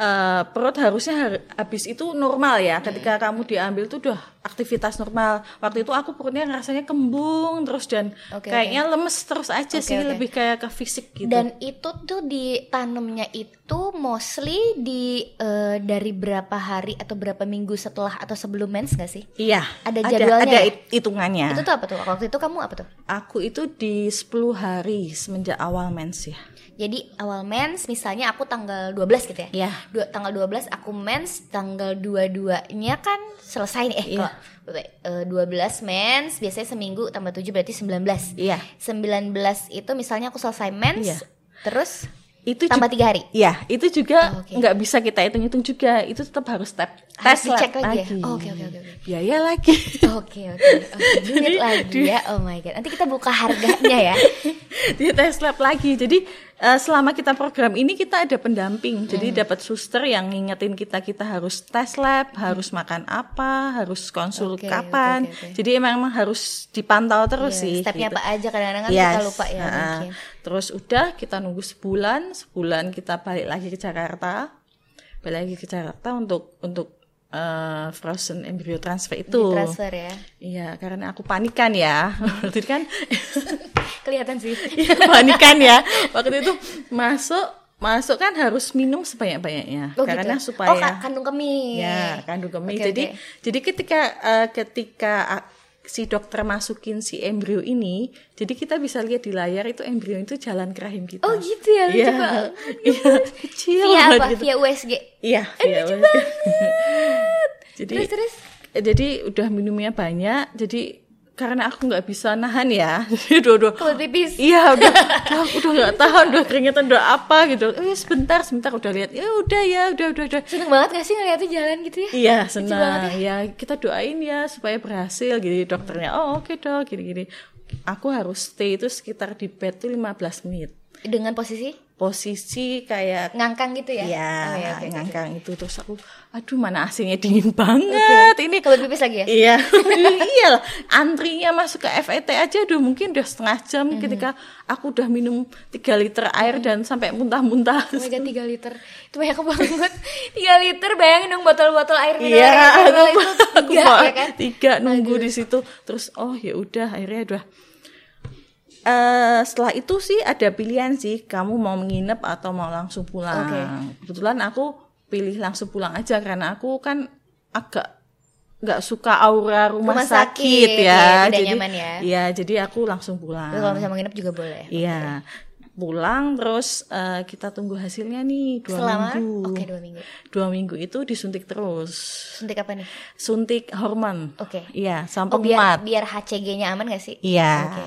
Speaker 2: eh, perut harusnya har- habis itu normal ya. Ketika kamu diambil tuh udah aktivitas normal. Waktu itu aku perutnya rasanya kembung terus dan
Speaker 1: Oke,
Speaker 2: kayaknya lemes terus aja
Speaker 1: Oke,
Speaker 2: sih,
Speaker 1: oke.
Speaker 2: lebih kayak ke fisik gitu.
Speaker 1: Dan itu tuh ditanamnya itu mostly di eh, dari berapa hari atau berapa minggu setelah atau sebelum mens gak sih?
Speaker 2: iya,
Speaker 1: ada jadwalnya
Speaker 2: ada
Speaker 1: ya?
Speaker 2: hit- hitungannya.
Speaker 1: Itu tuh apa tuh? Waktu itu kamu apa tuh?
Speaker 2: Aku itu di 10 hari semenjak awal mens ya.
Speaker 1: Jadi awal mens misalnya aku tanggal 12 gitu ya.
Speaker 2: Iya.
Speaker 1: Dua, tanggal 12 aku mens, tanggal 22-nya kan selesai nih. Eh,
Speaker 2: Iya.
Speaker 1: kalau- eh, eh, 12 mens, biasanya seminggu tambah 7 berarti 19.
Speaker 2: Iya.
Speaker 1: 19 itu misalnya aku selesai mens,
Speaker 2: Iya.
Speaker 1: terus
Speaker 2: Itu
Speaker 1: tambah
Speaker 2: juga-
Speaker 1: 3 hari.
Speaker 2: Iya, itu
Speaker 1: Oh,
Speaker 2: juga
Speaker 1: oke.
Speaker 2: nggak bisa kita hitung-hitung juga. Itu tetap harus step
Speaker 1: Harus
Speaker 2: tes lab
Speaker 1: dicek lagi ya?
Speaker 2: lagi.
Speaker 1: Oh, oke, oke, oke, oke.
Speaker 2: Biaya lagi.
Speaker 1: Oke, oke. oke. Duit lagi ya. Oh my god. Nanti kita buka harganya ya.
Speaker 2: dia tes lab lagi. Jadi eh, selama kita program ini kita ada pendamping.
Speaker 1: Hmm.
Speaker 2: Jadi dapat suster yang ngingetin kita kita harus tes lab, harus makan apa, harus konsul
Speaker 1: Oke, oke,
Speaker 2: kapan.
Speaker 1: oke, oke.
Speaker 2: Jadi emang, emang harus dipantau
Speaker 1: Ya,
Speaker 2: terus sih.
Speaker 1: Stepnya
Speaker 2: gitu.
Speaker 1: apa aja kadang-kadang kan kita
Speaker 2: Yes.
Speaker 1: lupa ya
Speaker 2: Ha-ha.
Speaker 1: mungkin.
Speaker 2: Terus udah kita nunggu sebulan, sebulan kita balik lagi ke Jakarta. Balik lagi ke Jakarta untuk untuk eh, frozen embryo transfer itu.
Speaker 1: Transfer ya.
Speaker 2: Iya, karena aku panikan ya. Berarti kan
Speaker 1: Kelihatan sih. Oh,
Speaker 2: Iya, panikan ya. Waktu itu masuk masuk kan harus minum sebanyak-banyaknya
Speaker 1: Oh,
Speaker 2: karena
Speaker 1: gitu.
Speaker 2: supaya
Speaker 1: Oh, ka- kandung kemih.
Speaker 2: ya kandung kemih.
Speaker 1: Oke,
Speaker 2: jadi
Speaker 1: oke.
Speaker 2: jadi ketika eh, ketika ah, si dokter masukin si embrio ini, jadi kita bisa lihat di layar itu embrio itu jalan ke rahim kita.
Speaker 1: Oh, gitu ya, lucu
Speaker 2: Iya.
Speaker 1: banget.
Speaker 2: Iya, kecil
Speaker 1: via
Speaker 2: banget
Speaker 1: apa?
Speaker 2: gitu.
Speaker 1: Via USG.
Speaker 2: Iya, iya, Mas. Jadi
Speaker 1: Terus terus.
Speaker 2: Eh, jadi udah minumnya banyak jadi karena aku nggak bisa nahan ya jadi udah udah
Speaker 1: Kebelet pipis.
Speaker 2: iya udah udah udah nggak tahan udah keringetan udah apa gitu eh sebentar sebentar udah lihat ya udah ya udah udah udah
Speaker 1: Seneng banget gak sih ngeliatnya jalan gitu ya?
Speaker 2: Iya
Speaker 1: banget
Speaker 2: senang ya. kita doain ya supaya berhasil gitu dokternya oh oke dok gini gini aku harus stay itu sekitar di bed tuh 15 menit
Speaker 1: Dengan posisi
Speaker 2: posisi kayak
Speaker 1: ngangkang gitu ya?
Speaker 2: ya,
Speaker 1: Oh, ya oke, oke.
Speaker 2: ngangkang itu terus aku aduh mana AC-nya dingin banget ini
Speaker 1: Kebelet pipis lagi ya?
Speaker 2: Iya, iya lah. Antrinya masuk ke FET aja udah mungkin udah setengah jam ketika aku udah minum 3 liter air dan sampai muntah-muntah.
Speaker 1: Oh my god, 3 liter Itu banyak banget 3 liter, bayangin dong botol-botol air mineral
Speaker 2: Iya,
Speaker 1: air mineral
Speaker 2: aku
Speaker 1: itu
Speaker 2: aku
Speaker 1: tiga,
Speaker 2: mau-
Speaker 1: ya kan?
Speaker 2: tiga nunggu di situ. Terus oh ya udah akhirnya udah eh setelah itu sih ada pilihan sih kamu mau menginap atau mau langsung pulang.
Speaker 1: Oke.
Speaker 2: Kebetulan aku pilih langsung pulang aja karena aku kan agak nggak suka aura rumah,
Speaker 1: Rumah
Speaker 2: sakit,
Speaker 1: sakit,
Speaker 2: ya.
Speaker 1: iya, tidak
Speaker 2: jadi
Speaker 1: nyaman ya.
Speaker 2: Iya, jadi aku langsung pulang.
Speaker 1: Tapi kalau misalnya mau nginep juga boleh
Speaker 2: Iya. Pulang terus eh, kita tunggu hasilnya nih dua
Speaker 1: Selama?
Speaker 2: minggu.
Speaker 1: Oke, dua minggu
Speaker 2: Dua minggu itu disuntik terus
Speaker 1: Suntik apa nih?
Speaker 2: suntik hormon.
Speaker 1: Oke.
Speaker 2: Iya, sampai
Speaker 1: Oh, biar,
Speaker 2: muat.
Speaker 1: biar HCG-nya aman gak sih?
Speaker 2: Iya.
Speaker 1: Oke.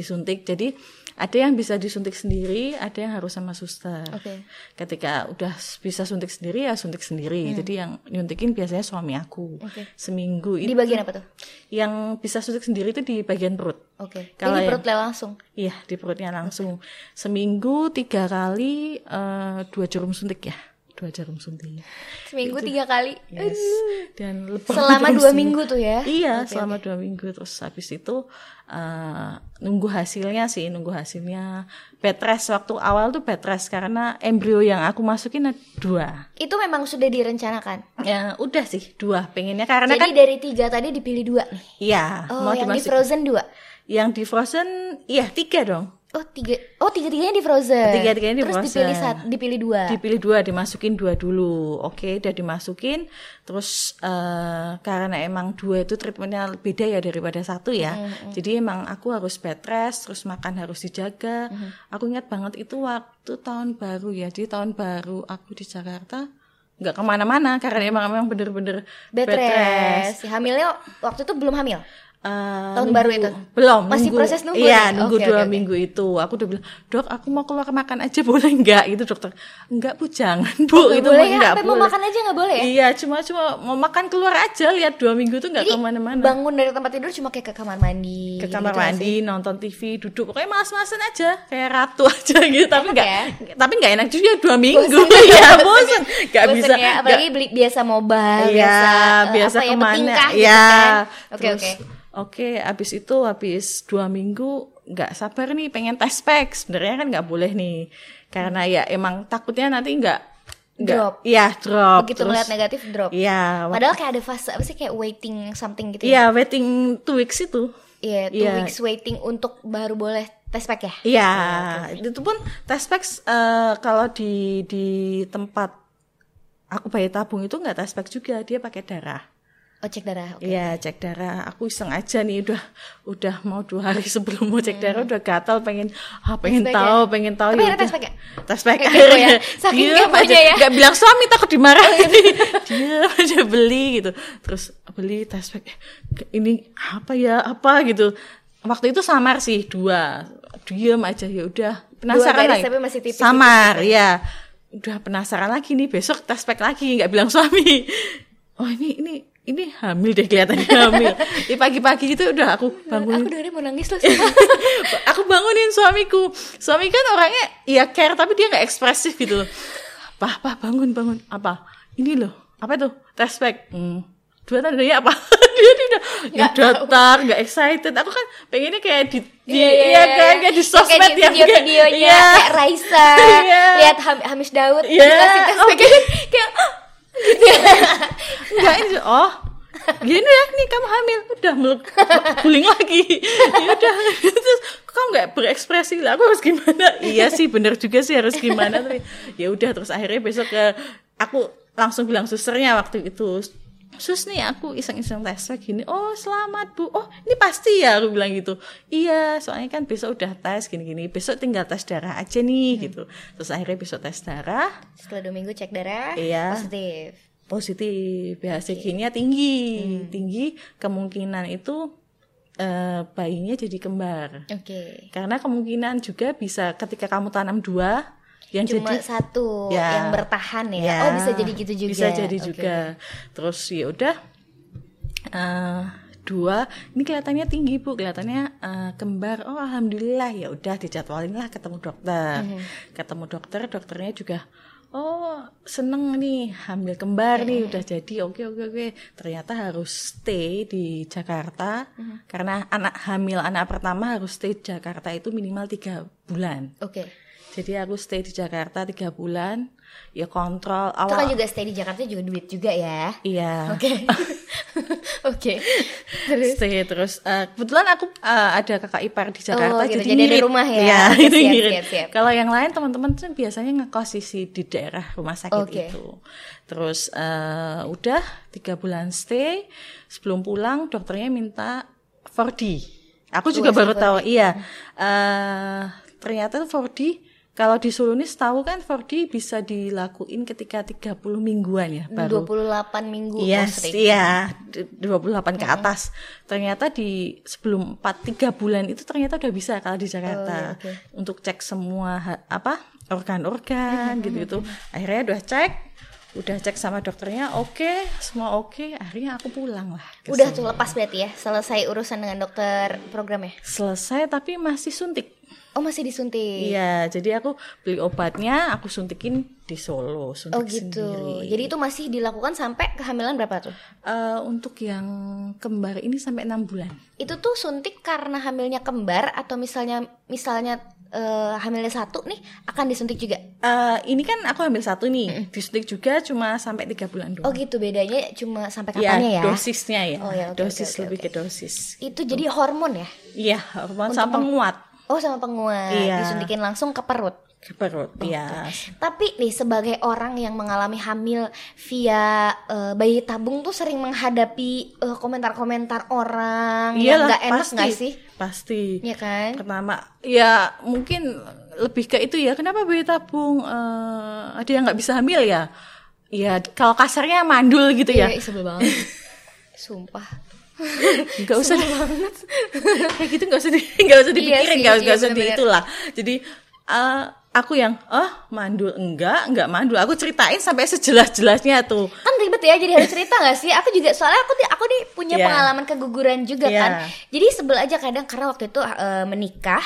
Speaker 2: Disuntik. Jadi ada yang bisa disuntik sendiri, ada yang harus sama suster.
Speaker 1: Oke.
Speaker 2: Ketika udah bisa suntik sendiri ya suntik sendiri. Jadi yang nyuntikin biasanya suami aku.
Speaker 1: Hmm. Oke.
Speaker 2: Seminggu
Speaker 1: Di
Speaker 2: itu
Speaker 1: bagian apa tuh?
Speaker 2: yang bisa suntik sendiri itu di bagian perut.
Speaker 1: Oke Ini
Speaker 2: Kalau yang-
Speaker 1: perut lah langsung
Speaker 2: Iya, di perutnya langsung. Seminggu tiga kali eh, dua jarum suntik ya, dua jarum suntik.
Speaker 1: Seminggu tiga kali
Speaker 2: Yes. Dan lebih-
Speaker 1: Selama
Speaker 2: jarum
Speaker 1: dua
Speaker 2: suntik.
Speaker 1: minggu tuh ya?
Speaker 2: Iya,
Speaker 1: Oke,
Speaker 2: selama dua minggu terus habis itu eh, nunggu hasilnya sih, nunggu hasilnya. Bed rest waktu awal tuh bed rest karena embrio yang aku masukin ada dua.
Speaker 1: Itu memang sudah direncanakan
Speaker 2: Ya udah sih dua, pengennya karena
Speaker 1: Jadi
Speaker 2: kan
Speaker 1: dari tiga tadi dipilih dua nih
Speaker 2: iya
Speaker 1: Oh
Speaker 2: mau
Speaker 1: yang di
Speaker 2: dimasuk-
Speaker 1: Frozen dua
Speaker 2: yang di frozen iya tiga dong.
Speaker 1: Oh tiga Oh tiga tiganya di Frozen
Speaker 2: Tiga-tiganya di
Speaker 1: Terus
Speaker 2: Frozen.
Speaker 1: dipilih sat, dipilih dua
Speaker 2: Dipilih dua, dimasukin dua dulu. Oke, udah dimasukin. Terus eh, karena emang dua itu treatmentnya beda ya daripada satu ya.
Speaker 1: Mm-hmm.
Speaker 2: Jadi emang aku harus bed rest, terus makan harus dijaga.
Speaker 1: Mm-hmm.
Speaker 2: Aku ingat banget itu waktu tahun baru ya. Jadi tahun baru aku di Jakarta nggak kemana-mana karena emang emang bener-bener
Speaker 1: Bed rest. Hamilnya waktu itu belum hamil.
Speaker 2: Eh, eh,
Speaker 1: Tahun
Speaker 2: nunggu-
Speaker 1: baru itu?
Speaker 2: belum
Speaker 1: Masih proses nunggu
Speaker 2: iya
Speaker 1: nih?
Speaker 2: nunggu
Speaker 1: Oke,
Speaker 2: dua
Speaker 1: oke, oke.
Speaker 2: minggu itu aku udah bilang dok aku mau keluar makan aja boleh nggak gitu dokter enggak bu jangan bu
Speaker 1: Nggak
Speaker 2: gitu
Speaker 1: boleh ya?
Speaker 2: nggak
Speaker 1: Sampai mau makan aja nggak boleh ya?
Speaker 2: iya cuma cuma mau makan keluar aja lihat dua minggu tuh nggak
Speaker 1: Jadi
Speaker 2: kemana-mana
Speaker 1: bangun dari tempat tidur cuma kayak ke kamar mandi.
Speaker 2: ke kamar
Speaker 1: gitu nggak sih?
Speaker 2: mandi nonton TV duduk pokoknya malas-malasan aja kayak ratu aja gitu tapi nggak tapi nggak enak juga dua minggu
Speaker 1: ya? Bosen ya,
Speaker 2: ya
Speaker 1: bosen
Speaker 2: bosen nggak
Speaker 1: Bosen
Speaker 2: bisa
Speaker 1: ya,
Speaker 2: nggak-
Speaker 1: apalagi beli biasa mobile,
Speaker 2: Iya,
Speaker 1: biasa eh,
Speaker 2: biasa
Speaker 1: apa ya,
Speaker 2: kemana?
Speaker 1: petingkah gitu
Speaker 2: Iya.
Speaker 1: kan. Oke,
Speaker 2: Terus,
Speaker 1: oke.
Speaker 2: Oke, habis itu habis dua minggu nggak sabar nih pengen tes pack. Sebenarnya kan nggak boleh nih, karena ya emang takutnya nanti nggak nggak-
Speaker 1: Drop.
Speaker 2: Iya drop.
Speaker 1: Begitu
Speaker 2: Terus-
Speaker 1: ngeliat negatif drop.
Speaker 2: Iya. wak-
Speaker 1: Padahal kayak ada fase apa sih kayak waiting something gitu ya.
Speaker 2: Iya waiting two weeks itu.
Speaker 1: Iya, two
Speaker 2: Iya.
Speaker 1: weeks waiting untuk baru boleh tes pack ya.
Speaker 2: Iya, itu pun tes packs eh, kalau di di tempat aku bayi tabung itu nggak tes pack juga, dia pakai darah.
Speaker 1: Oh, cek darah. Oke.
Speaker 2: Iya cek darah. Aku iseng aja nih udah udah mau dua hari sebelum mau cek darah udah gatal pengen ah pengen
Speaker 1: Tes Hmm. pack
Speaker 2: tahu
Speaker 1: ya?
Speaker 2: pengen tahu
Speaker 1: Tapi akhirnya
Speaker 2: udah.
Speaker 1: tes pack ya?
Speaker 2: Tes pack
Speaker 1: Kayak gitu ya.
Speaker 2: akhirnya.
Speaker 1: Saking
Speaker 2: Diem
Speaker 1: keponya
Speaker 2: aja.
Speaker 1: ya. Oh, iya.
Speaker 2: Nggak bilang suami takut dimarahin. Diem aja beli gitu. Terus beli tes pack. Ini apa ya apa gitu. Waktu itu samar sih dua. Diem aja ya udah
Speaker 1: garis
Speaker 2: penasaran lagi.
Speaker 1: tapi masih tipis-tipis. gitu
Speaker 2: samar ya. Udah penasaran lagi nih besok tes pack lagi nggak bilang suami. Oh ini ini ini hamil deh kelihatannya hamil. Di pagi-pagi itu udah aku
Speaker 1: Aku
Speaker 2: bangunin
Speaker 1: dengerin mau nangis loh.
Speaker 2: aku bangunin suamiku suami kan orangnya ya care tapi dia nggak ekspresif gitu loh apa apa bangun bangun apa ini loh apa tuh test pack hmm. dua tandanya apa dia tidak nggak datar nggak excited aku kan pengennya kayak di, di
Speaker 1: Iya, iya,
Speaker 2: iya
Speaker 1: iya,
Speaker 2: kan
Speaker 1: iya.
Speaker 2: kayak di sosmed
Speaker 1: kayak di
Speaker 2: yang kayak-
Speaker 1: video-videonya
Speaker 2: iya.
Speaker 1: kayak Raisa
Speaker 2: Iya.
Speaker 1: lihat Ham- Hamish Daud
Speaker 2: Iya,
Speaker 1: dikasih tes
Speaker 2: oke.
Speaker 1: pack. kayak "Ah, gitu
Speaker 2: Enggak ini oh gini ya nih kamu hamil udah meluk guling lagi ya udah terus kamu nggak berekspresi lah aku harus gimana iya sih bener juga sih harus gimana tapi ya udah terus akhirnya besok ke aku langsung bilang susternya waktu itu sus nih aku iseng-iseng tes swab gini oh selamat bu oh ini pasti ya aku bilang gitu iya soalnya kan besok udah tes gini-gini besok tinggal tes darah aja nih gitu terus akhirnya besok tes darah
Speaker 1: setelah dua minggu cek darah
Speaker 2: Iya.
Speaker 1: positif
Speaker 2: positif BHCG-nya tinggi tinggi kemungkinan itu eh, bayinya jadi kembar
Speaker 1: oke
Speaker 2: karena kemungkinan juga bisa ketika kamu tanam dua yang
Speaker 1: cuma
Speaker 2: jadi
Speaker 1: satu
Speaker 2: Ya.
Speaker 1: yang bertahan ya.
Speaker 2: Ya,
Speaker 1: oh bisa jadi gitu juga
Speaker 2: bisa jadi
Speaker 1: Oke.
Speaker 2: juga terus ya udah eh, dua ini kelihatannya tinggi bu kelihatannya eh, kembar oh alhamdulillah ya udah dijadwalin lah ketemu dokter
Speaker 1: Mm-hmm.
Speaker 2: ketemu dokter dokternya juga oh seneng nih hamil kembar nih
Speaker 1: Mm-hmm.
Speaker 2: udah jadi oke oke oke ternyata harus stay di Jakarta
Speaker 1: Mm-hmm.
Speaker 2: karena anak hamil anak pertama harus stay di Jakarta itu minimal tiga bulan
Speaker 1: oke
Speaker 2: jadi aku stay di Jakarta tiga bulan, ya kontrol
Speaker 1: itu kan
Speaker 2: awal.
Speaker 1: juga stay di Jakarta juga duit juga ya
Speaker 2: Iya.
Speaker 1: oke oke terus
Speaker 2: Stay terus. Eh, kebetulan aku eh, ada kakak ipar di Jakarta,
Speaker 1: gitu,
Speaker 2: jadi,
Speaker 1: jadi dari
Speaker 2: ngirit.
Speaker 1: rumah ya.
Speaker 2: Iya,
Speaker 1: Oke,
Speaker 2: itu
Speaker 1: siap,
Speaker 2: ngirit.
Speaker 1: siap, siap.
Speaker 2: Kalau yang lain teman-teman tuh biasanya ngekos di si- di daerah rumah sakit
Speaker 1: Oke.
Speaker 2: itu. Terus eh, udah tiga bulan stay, sebelum pulang dokternya minta 4D. Aku juga
Speaker 1: USG
Speaker 2: baru tahu, iya. Eh, ternyata 4D kalau di Solo ini setahu kan 4D bisa dilakuin ketika 30 mingguan ya baru
Speaker 1: 28 minggu
Speaker 2: Yes,
Speaker 1: positif.
Speaker 2: iya, d- 28 ke atas. Ternyata di sebelum 4 3 bulan itu ternyata udah bisa kalau di
Speaker 1: Oh, iya,
Speaker 2: Jakarta.
Speaker 1: oke.
Speaker 2: Untuk cek semua ha- apa? organ-organ gitu-gitu. Akhirnya udah cek, udah cek sama dokternya, oke, semua oke. Akhirnya aku pulang lah. ke
Speaker 1: udah
Speaker 2: sini.
Speaker 1: tuh lepas berarti ya selesai urusan dengan dokter program ya
Speaker 2: selesai tapi masih suntik.
Speaker 1: oh masih disuntik
Speaker 2: Iya, jadi aku beli obatnya, aku suntikin di Solo, suntik
Speaker 1: Oh gitu.
Speaker 2: sendiri.
Speaker 1: Jadi itu masih dilakukan sampai kehamilan berapa tuh?
Speaker 2: Eh, untuk yang kembar ini sampai 6 bulan.
Speaker 1: Itu tuh suntik karena hamilnya kembar atau misalnya misalnya eh, hamilnya satu nih akan disuntik juga.
Speaker 2: Eh, ini kan aku ambil satu nih, disuntik juga cuma sampai tiga bulan
Speaker 1: Oh
Speaker 2: doang.
Speaker 1: gitu bedanya cuma sampai
Speaker 2: Iya,
Speaker 1: kapannya ya?
Speaker 2: dosisnya ya,
Speaker 1: Oh, ya, oke,
Speaker 2: dosis
Speaker 1: oke, oke,
Speaker 2: lebih
Speaker 1: oke.
Speaker 2: ke dosis.
Speaker 1: Itu jadi hormon ya?
Speaker 2: Iya, hormon sama penguat
Speaker 1: Oh sama penguat
Speaker 2: Iya.
Speaker 1: disuntikin langsung ke perut.
Speaker 2: ke perut.
Speaker 1: Oh,
Speaker 2: Iya.
Speaker 1: Tapi nih sebagai orang yang mengalami hamil via eh, bayi tabung tuh sering menghadapi eh, komentar-komentar orang yang
Speaker 2: Iyalah,
Speaker 1: nggak enak
Speaker 2: Iya pasti.
Speaker 1: nggak sih?
Speaker 2: Pasti.
Speaker 1: Iya kan?
Speaker 2: Pertama, ya mungkin lebih ke itu ya. Kenapa bayi tabung eh, ada yang nggak bisa hamil ya? Ya kalau kasarnya mandul gitu ya.
Speaker 1: Iya, ih, sebel banget. Sumpah.
Speaker 2: nggak usah banget kayak gitu nggak usah di, nggak usah
Speaker 1: Iya
Speaker 2: dipikirin
Speaker 1: sih,
Speaker 2: nggak nggak
Speaker 1: iya
Speaker 2: usah di
Speaker 1: bener-bener.
Speaker 2: itulah jadi eh, aku yang oh mandul enggak enggak mandul aku ceritain sampai sejelas-jelasnya tuh
Speaker 1: kan ribet ya jadi harus cerita gak sih aku juga soalnya aku di- aku nih punya
Speaker 2: Iya.
Speaker 1: pengalaman keguguran juga
Speaker 2: Iya.
Speaker 1: kan jadi sebel aja kadang karena waktu itu eh, menikah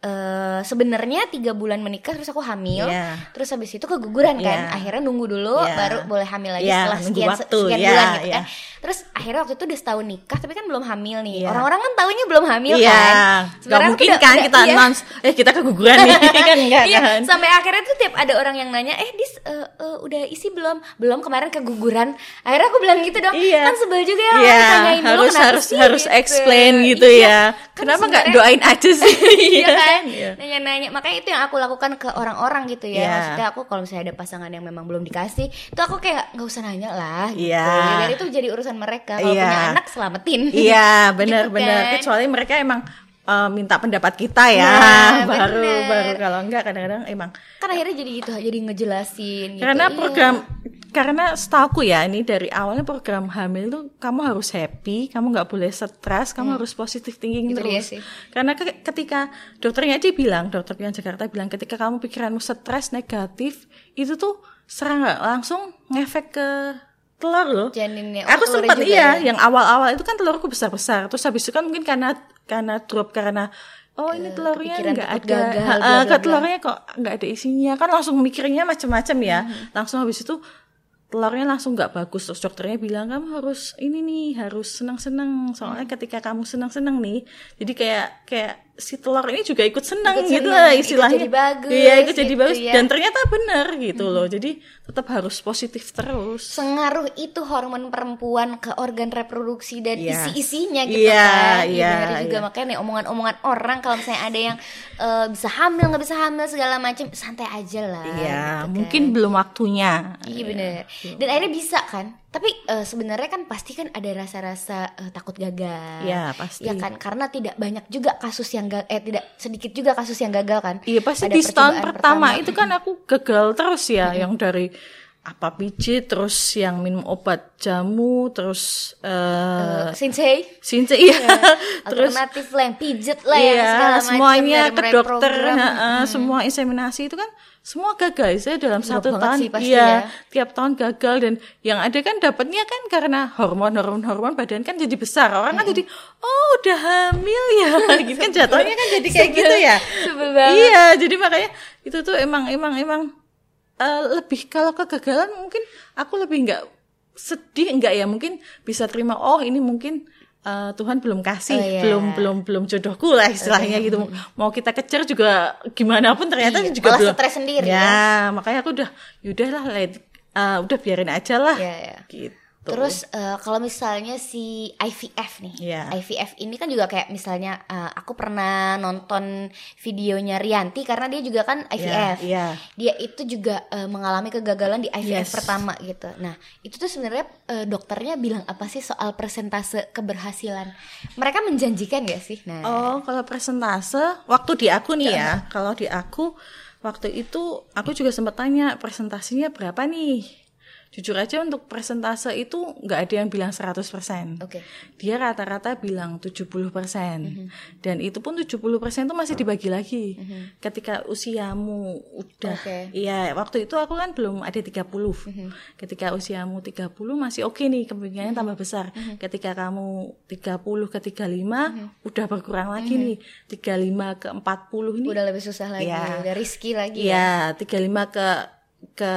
Speaker 1: eh sebenarnya tiga bulan menikah terus aku hamil
Speaker 2: Iya.
Speaker 1: terus habis itu keguguran kan
Speaker 2: Iya.
Speaker 1: akhirnya nunggu dulu
Speaker 2: Iya.
Speaker 1: baru boleh hamil lagi
Speaker 2: Iya,
Speaker 1: setelah
Speaker 2: nunggu
Speaker 1: sekian
Speaker 2: waktu.
Speaker 1: sekian
Speaker 2: Iya,
Speaker 1: bulan gitu
Speaker 2: iya.
Speaker 1: kan terus akhirnya waktu itu udah setahun nikah tapi kan belum hamil nih
Speaker 2: Iya.
Speaker 1: orang-orang kan taunya belum hamil
Speaker 2: iya
Speaker 1: kan
Speaker 2: nggak
Speaker 1: Sebenarnya aku
Speaker 2: mungkin
Speaker 1: udah-
Speaker 2: kan
Speaker 1: udah-
Speaker 2: kita
Speaker 1: iya.
Speaker 2: announce eh kita keguguran nih kan enggak
Speaker 1: Iya,
Speaker 2: kan
Speaker 1: sampai akhirnya tuh tiap ada orang yang nanya eh dis eh, eh, udah isi belum belum kemarin keguguran akhirnya aku bilang gitu dong
Speaker 2: Iya.
Speaker 1: kan sebel juga ya
Speaker 2: Iya,
Speaker 1: orang tanyain dulu
Speaker 2: harus
Speaker 1: kenapa
Speaker 2: harus
Speaker 1: sih
Speaker 2: harus
Speaker 1: gitu.
Speaker 2: explain gitu
Speaker 1: Iya,
Speaker 2: ya.
Speaker 1: kan
Speaker 2: Kenapa nggak
Speaker 1: sebenarnya-
Speaker 2: doain aja sih?
Speaker 1: Iya kan
Speaker 2: Iya.
Speaker 1: nanya-nanya makanya itu yang aku lakukan ke orang-orang gitu ya
Speaker 2: Iya.
Speaker 1: maksudnya aku kalau misalnya ada pasangan yang memang belum dikasih itu aku kayak nggak usah nanya lah gitu
Speaker 2: Iya.
Speaker 1: Ya, biar itu jadi urusan mereka kalau
Speaker 2: Iya.
Speaker 1: punya anak selamatin
Speaker 2: Iya, benar-benar.
Speaker 1: kan.
Speaker 2: Kecuali mereka emang eh, minta pendapat kita ya,
Speaker 1: Nah,
Speaker 2: baru
Speaker 1: benar.
Speaker 2: baru kalau enggak kadang-kadang emang
Speaker 1: kan akhirnya jadi gitu jadi ngejelasin gitu.
Speaker 2: karena
Speaker 1: Iya.
Speaker 2: program karena setahu ya ini dari awalnya program hamil tuh kamu harus happy, kamu nggak boleh stres, kamu harus positif thinking
Speaker 1: Itu dia
Speaker 2: terus.
Speaker 1: Hmm. Gitu, iya sih.
Speaker 2: Karena ke- ketika dokternya aja bilang, dokter yang Jakarta bilang ketika kamu pikiranmu stres negatif itu tuh serang nggak langsung ngefek ke telur loh.
Speaker 1: Janinnya, oh,
Speaker 2: Aku
Speaker 1: telurnya
Speaker 2: sempat
Speaker 1: juga
Speaker 2: iya,
Speaker 1: ya.
Speaker 2: yang awal-awal itu kan telurku besar-besar terus habis itu kan mungkin karena karena drop karena oh
Speaker 1: Iya,
Speaker 2: ini telurnya
Speaker 1: kepikiran
Speaker 2: nggak
Speaker 1: takut
Speaker 2: ada
Speaker 1: gagal, bla,
Speaker 2: Ha, eh,
Speaker 1: bla,
Speaker 2: ke
Speaker 1: bla.
Speaker 2: telurnya kok nggak ada isinya kan langsung mikirnya macam-macam ya
Speaker 1: Mm-hmm.
Speaker 2: langsung habis itu telurnya langsung nggak bagus terus dokternya bilang kamu harus ini nih harus senang-senang soalnya
Speaker 1: Mm-hmm.
Speaker 2: ketika kamu senang-senang nih jadi kayak kayak si telur ini juga ikut senang
Speaker 1: Ikut
Speaker 2: gitu
Speaker 1: senang,
Speaker 2: lah
Speaker 1: ikut
Speaker 2: istilahnya
Speaker 1: jadi bagus,
Speaker 2: iya ikut jadi
Speaker 1: gitu
Speaker 2: bagus
Speaker 1: ya. Mm-hmm.
Speaker 2: dan ternyata benar gitu loh jadi tetap harus positif terus
Speaker 1: sengaruh itu hormon perempuan ke organ reproduksi dan
Speaker 2: Iya.
Speaker 1: isi-isinya gitu
Speaker 2: Iya,
Speaker 1: kan. Iya,
Speaker 2: iya,
Speaker 1: benar juga
Speaker 2: iya.
Speaker 1: makanya nih omongan-omongan orang kalau misalnya ada yang eh, bisa hamil nggak bisa hamil segala macam santai aja lah.
Speaker 2: Iya,
Speaker 1: gitu kan.
Speaker 2: mungkin belum waktunya.
Speaker 1: Iya bener. Dan akhirnya bisa kan. Tapi eh, sebenarnya kan pasti kan ada rasa-rasa eh, takut gagal.
Speaker 2: Iya, pasti.
Speaker 1: Ya kan karena tidak banyak juga kasus yang gagal eh tidak sedikit juga kasus yang gagal kan.
Speaker 2: Iya pasti
Speaker 1: Ada
Speaker 2: di setahun
Speaker 1: percobaan
Speaker 2: pertama, itu kan aku gagal terus ya, yang dari apa pijit, terus yang minum obat jamu, terus eh
Speaker 1: Eh, Sensei
Speaker 2: sinse iya, terus
Speaker 1: alternatif lah yang pijet lah yang
Speaker 2: iya,
Speaker 1: segala macam dari
Speaker 2: semuanya ke
Speaker 1: mulai
Speaker 2: dokter,
Speaker 1: program.
Speaker 2: heeh, semua inseminasi itu kan semua gagal saya dalam
Speaker 1: Drop
Speaker 2: satu
Speaker 1: banget
Speaker 2: tahun,
Speaker 1: sih pasti
Speaker 2: iya,
Speaker 1: ya.
Speaker 2: tiap tahun gagal dan yang ada kan dapatnya kan karena hormon hormon hormon badan kan jadi besar orang kan jadi oh udah hamil ya, gitu kan jatuhnya kan jadi kayak gitu ya,
Speaker 1: Sebel banget.
Speaker 2: Iya, jadi makanya itu tuh emang emang emang eh, lebih kalau kegagalan mungkin aku lebih nggak sedih nggak ya mungkin bisa terima oh ini mungkin eh, Tuhan belum kasih
Speaker 1: Oh, iya.
Speaker 2: belum belum belum jodohku lah istilahnya gitu mau kita kejar juga gimana pun ternyata
Speaker 1: Iya,
Speaker 2: juga
Speaker 1: malah
Speaker 2: belum
Speaker 1: stres sendiri
Speaker 2: ya makanya aku udah yaudahlah let eh, udah biarin aja lah
Speaker 1: Iya, iya.
Speaker 2: gitu
Speaker 1: Terus eh, kalau misalnya si IVF nih,
Speaker 2: Iya.
Speaker 1: IVF ini kan juga kayak misalnya eh, aku pernah nonton videonya Rianti karena dia juga kan
Speaker 2: Iya,
Speaker 1: IVF.
Speaker 2: iya.
Speaker 1: Dia itu juga eh, mengalami kegagalan di IVF
Speaker 2: Yes.
Speaker 1: pertama gitu. Nah itu tuh sebenarnya eh, dokternya bilang apa sih soal persentase keberhasilan? Mereka menjanjikan gak sih? Nah,
Speaker 2: Oh, kalau presentase waktu di aku
Speaker 1: Iya.
Speaker 2: nih ya. Kalau di aku waktu itu aku juga sempat tanya presentasinya berapa nih. Jujur aja untuk presentase itu nggak ada yang bilang 100%.
Speaker 1: Oke. Mhm.
Speaker 2: Dia rata-rata bilang 70%. Dan itu pun 70% itu masih dibagi lagi. Ketika usiamu udah
Speaker 1: Mhm. Oke.
Speaker 2: Iya, waktu itu aku kan belum ada 30.
Speaker 1: Mm-hmm.
Speaker 2: Ketika usiamu 30 masih oke nih, kemungkinannya tambah besar.
Speaker 1: Mm-hmm.
Speaker 2: Ketika kamu 30 ke 35 udah berkurang lagi nih. 35 ke 40 ini.
Speaker 1: Mm-hmm. udah lebih susah lagi,
Speaker 2: Iya.
Speaker 1: udah risky lagi. ya.
Speaker 2: Iya, 35 ke ke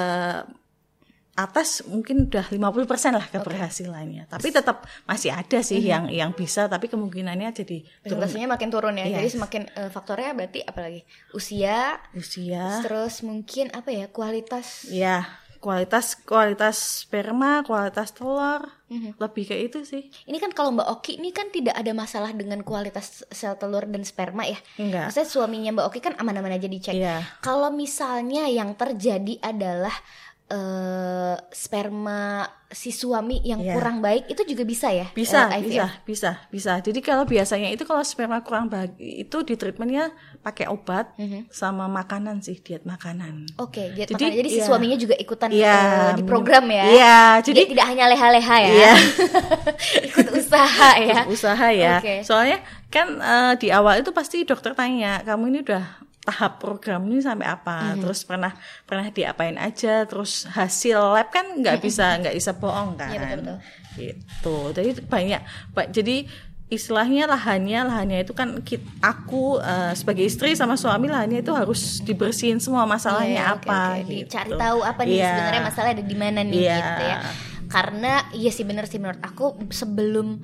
Speaker 2: atas mungkin udah 50% lah keberhasilannya. Tapi tetap masih ada sih
Speaker 1: Mm-hmm.
Speaker 2: yang yang bisa tapi kemungkinannya jadi turun
Speaker 1: Presentasinya makin turun ya. Jadi
Speaker 2: Yes.
Speaker 1: semakin eh, faktornya berarti apalagi usia,
Speaker 2: usia.
Speaker 1: terus mungkin apa ya kualitas
Speaker 2: Ya, kualitas kualitas sperma, kualitas telur,
Speaker 1: Mm-hmm.
Speaker 2: lebih ke itu sih.
Speaker 1: ini kan kalau Mbak Oki ini kan tidak ada masalah dengan kualitas sel telur dan sperma ya.
Speaker 2: Enggak.
Speaker 1: Maksudnya suaminya Mbak Oki kan aman-aman aja dicek.
Speaker 2: Iya.
Speaker 1: Kalau misalnya yang terjadi adalah eh, eh, sperma si suami yang
Speaker 2: Iya.
Speaker 1: kurang baik itu juga bisa ya?
Speaker 2: bisa
Speaker 1: lewat IVF?
Speaker 2: bisa bisa bisa jadi kalau biasanya itu kalau sperma kurang bagi itu di treatmentnya pakai obat
Speaker 1: Mhm.
Speaker 2: sama makanan sih diet makanan
Speaker 1: Oke, jadi,
Speaker 2: Jadi,
Speaker 1: makanya- jadi si
Speaker 2: iya.
Speaker 1: suaminya juga ikutan Oh, eh,
Speaker 2: Iya,
Speaker 1: di program ya.
Speaker 2: Iya,
Speaker 1: Jadi
Speaker 2: jadi
Speaker 1: tidak hanya leha-leha ya.
Speaker 2: Iya.
Speaker 1: Ikut usaha ya.
Speaker 2: usaha ya.
Speaker 1: Oke.
Speaker 2: Soalnya kan eh, di awal itu pasti dokter tanya, "Kamu ini udah tahap program ini sampai apa?"
Speaker 1: Mhm.
Speaker 2: Terus pernah pernah diapain aja, terus hasil lab kan nggak bisa nggak bisa bohong kan.
Speaker 1: Mhm. Iya, betul-betul.
Speaker 2: Gitu. Jadi banyak ba- jadi istilahnya lahannya lahannya itu kan kit- aku eh, sebagai istri sama suami lahannya itu harus dibersihin semua masalahnya
Speaker 1: Iya, oke,
Speaker 2: apa
Speaker 1: oke.
Speaker 2: gitu.
Speaker 1: Dicari tahu apa nih
Speaker 2: Iya.
Speaker 1: sebenarnya masalah ada di mana nih
Speaker 2: Iya.
Speaker 1: gitu ya. Karena iya sih benar sih menurut aku sebelum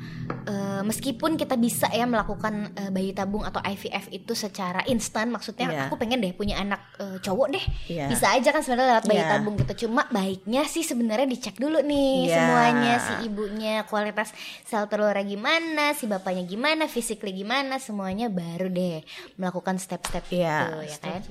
Speaker 1: eh, meskipun kita bisa ya melakukan eh, bayi tabung atau IVF itu secara instan maksudnya
Speaker 2: Iya.
Speaker 1: aku pengen deh punya anak eh, cowok deh.
Speaker 2: Iya.
Speaker 1: Bisa aja kan sebenarnya lewat bayi
Speaker 2: Iya.
Speaker 1: tabung gitu. Cuma baiknya sih sebenarnya dicek dulu nih
Speaker 2: Iya.
Speaker 1: semuanya si ibunya kualitas sel telurnya gimana, si bapaknya gimana, fisiknya gimana, semuanya baru deh melakukan step-step
Speaker 2: Iya,
Speaker 1: itu ya kan.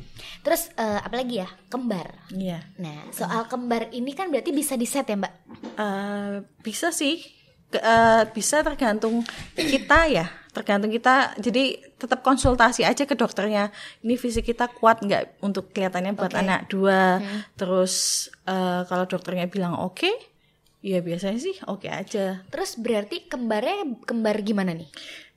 Speaker 1: Terus eh, apa lagi ya? Kembar.
Speaker 2: Iya.
Speaker 1: Nah, soal kembar ini kan berarti bisa di set ya, Mbak?
Speaker 2: Eh, bisa sih Ke- eh, bisa tergantung kita ya tergantung kita jadi tetap konsultasi aja ke dokternya ini fisik kita kuat nggak untuk kelihatannya buat
Speaker 1: Oke.
Speaker 2: anak dua terus eh, kalau dokternya bilang oke ya biasanya sih oke aja
Speaker 1: Terus berarti kembarnya kembar gimana nih?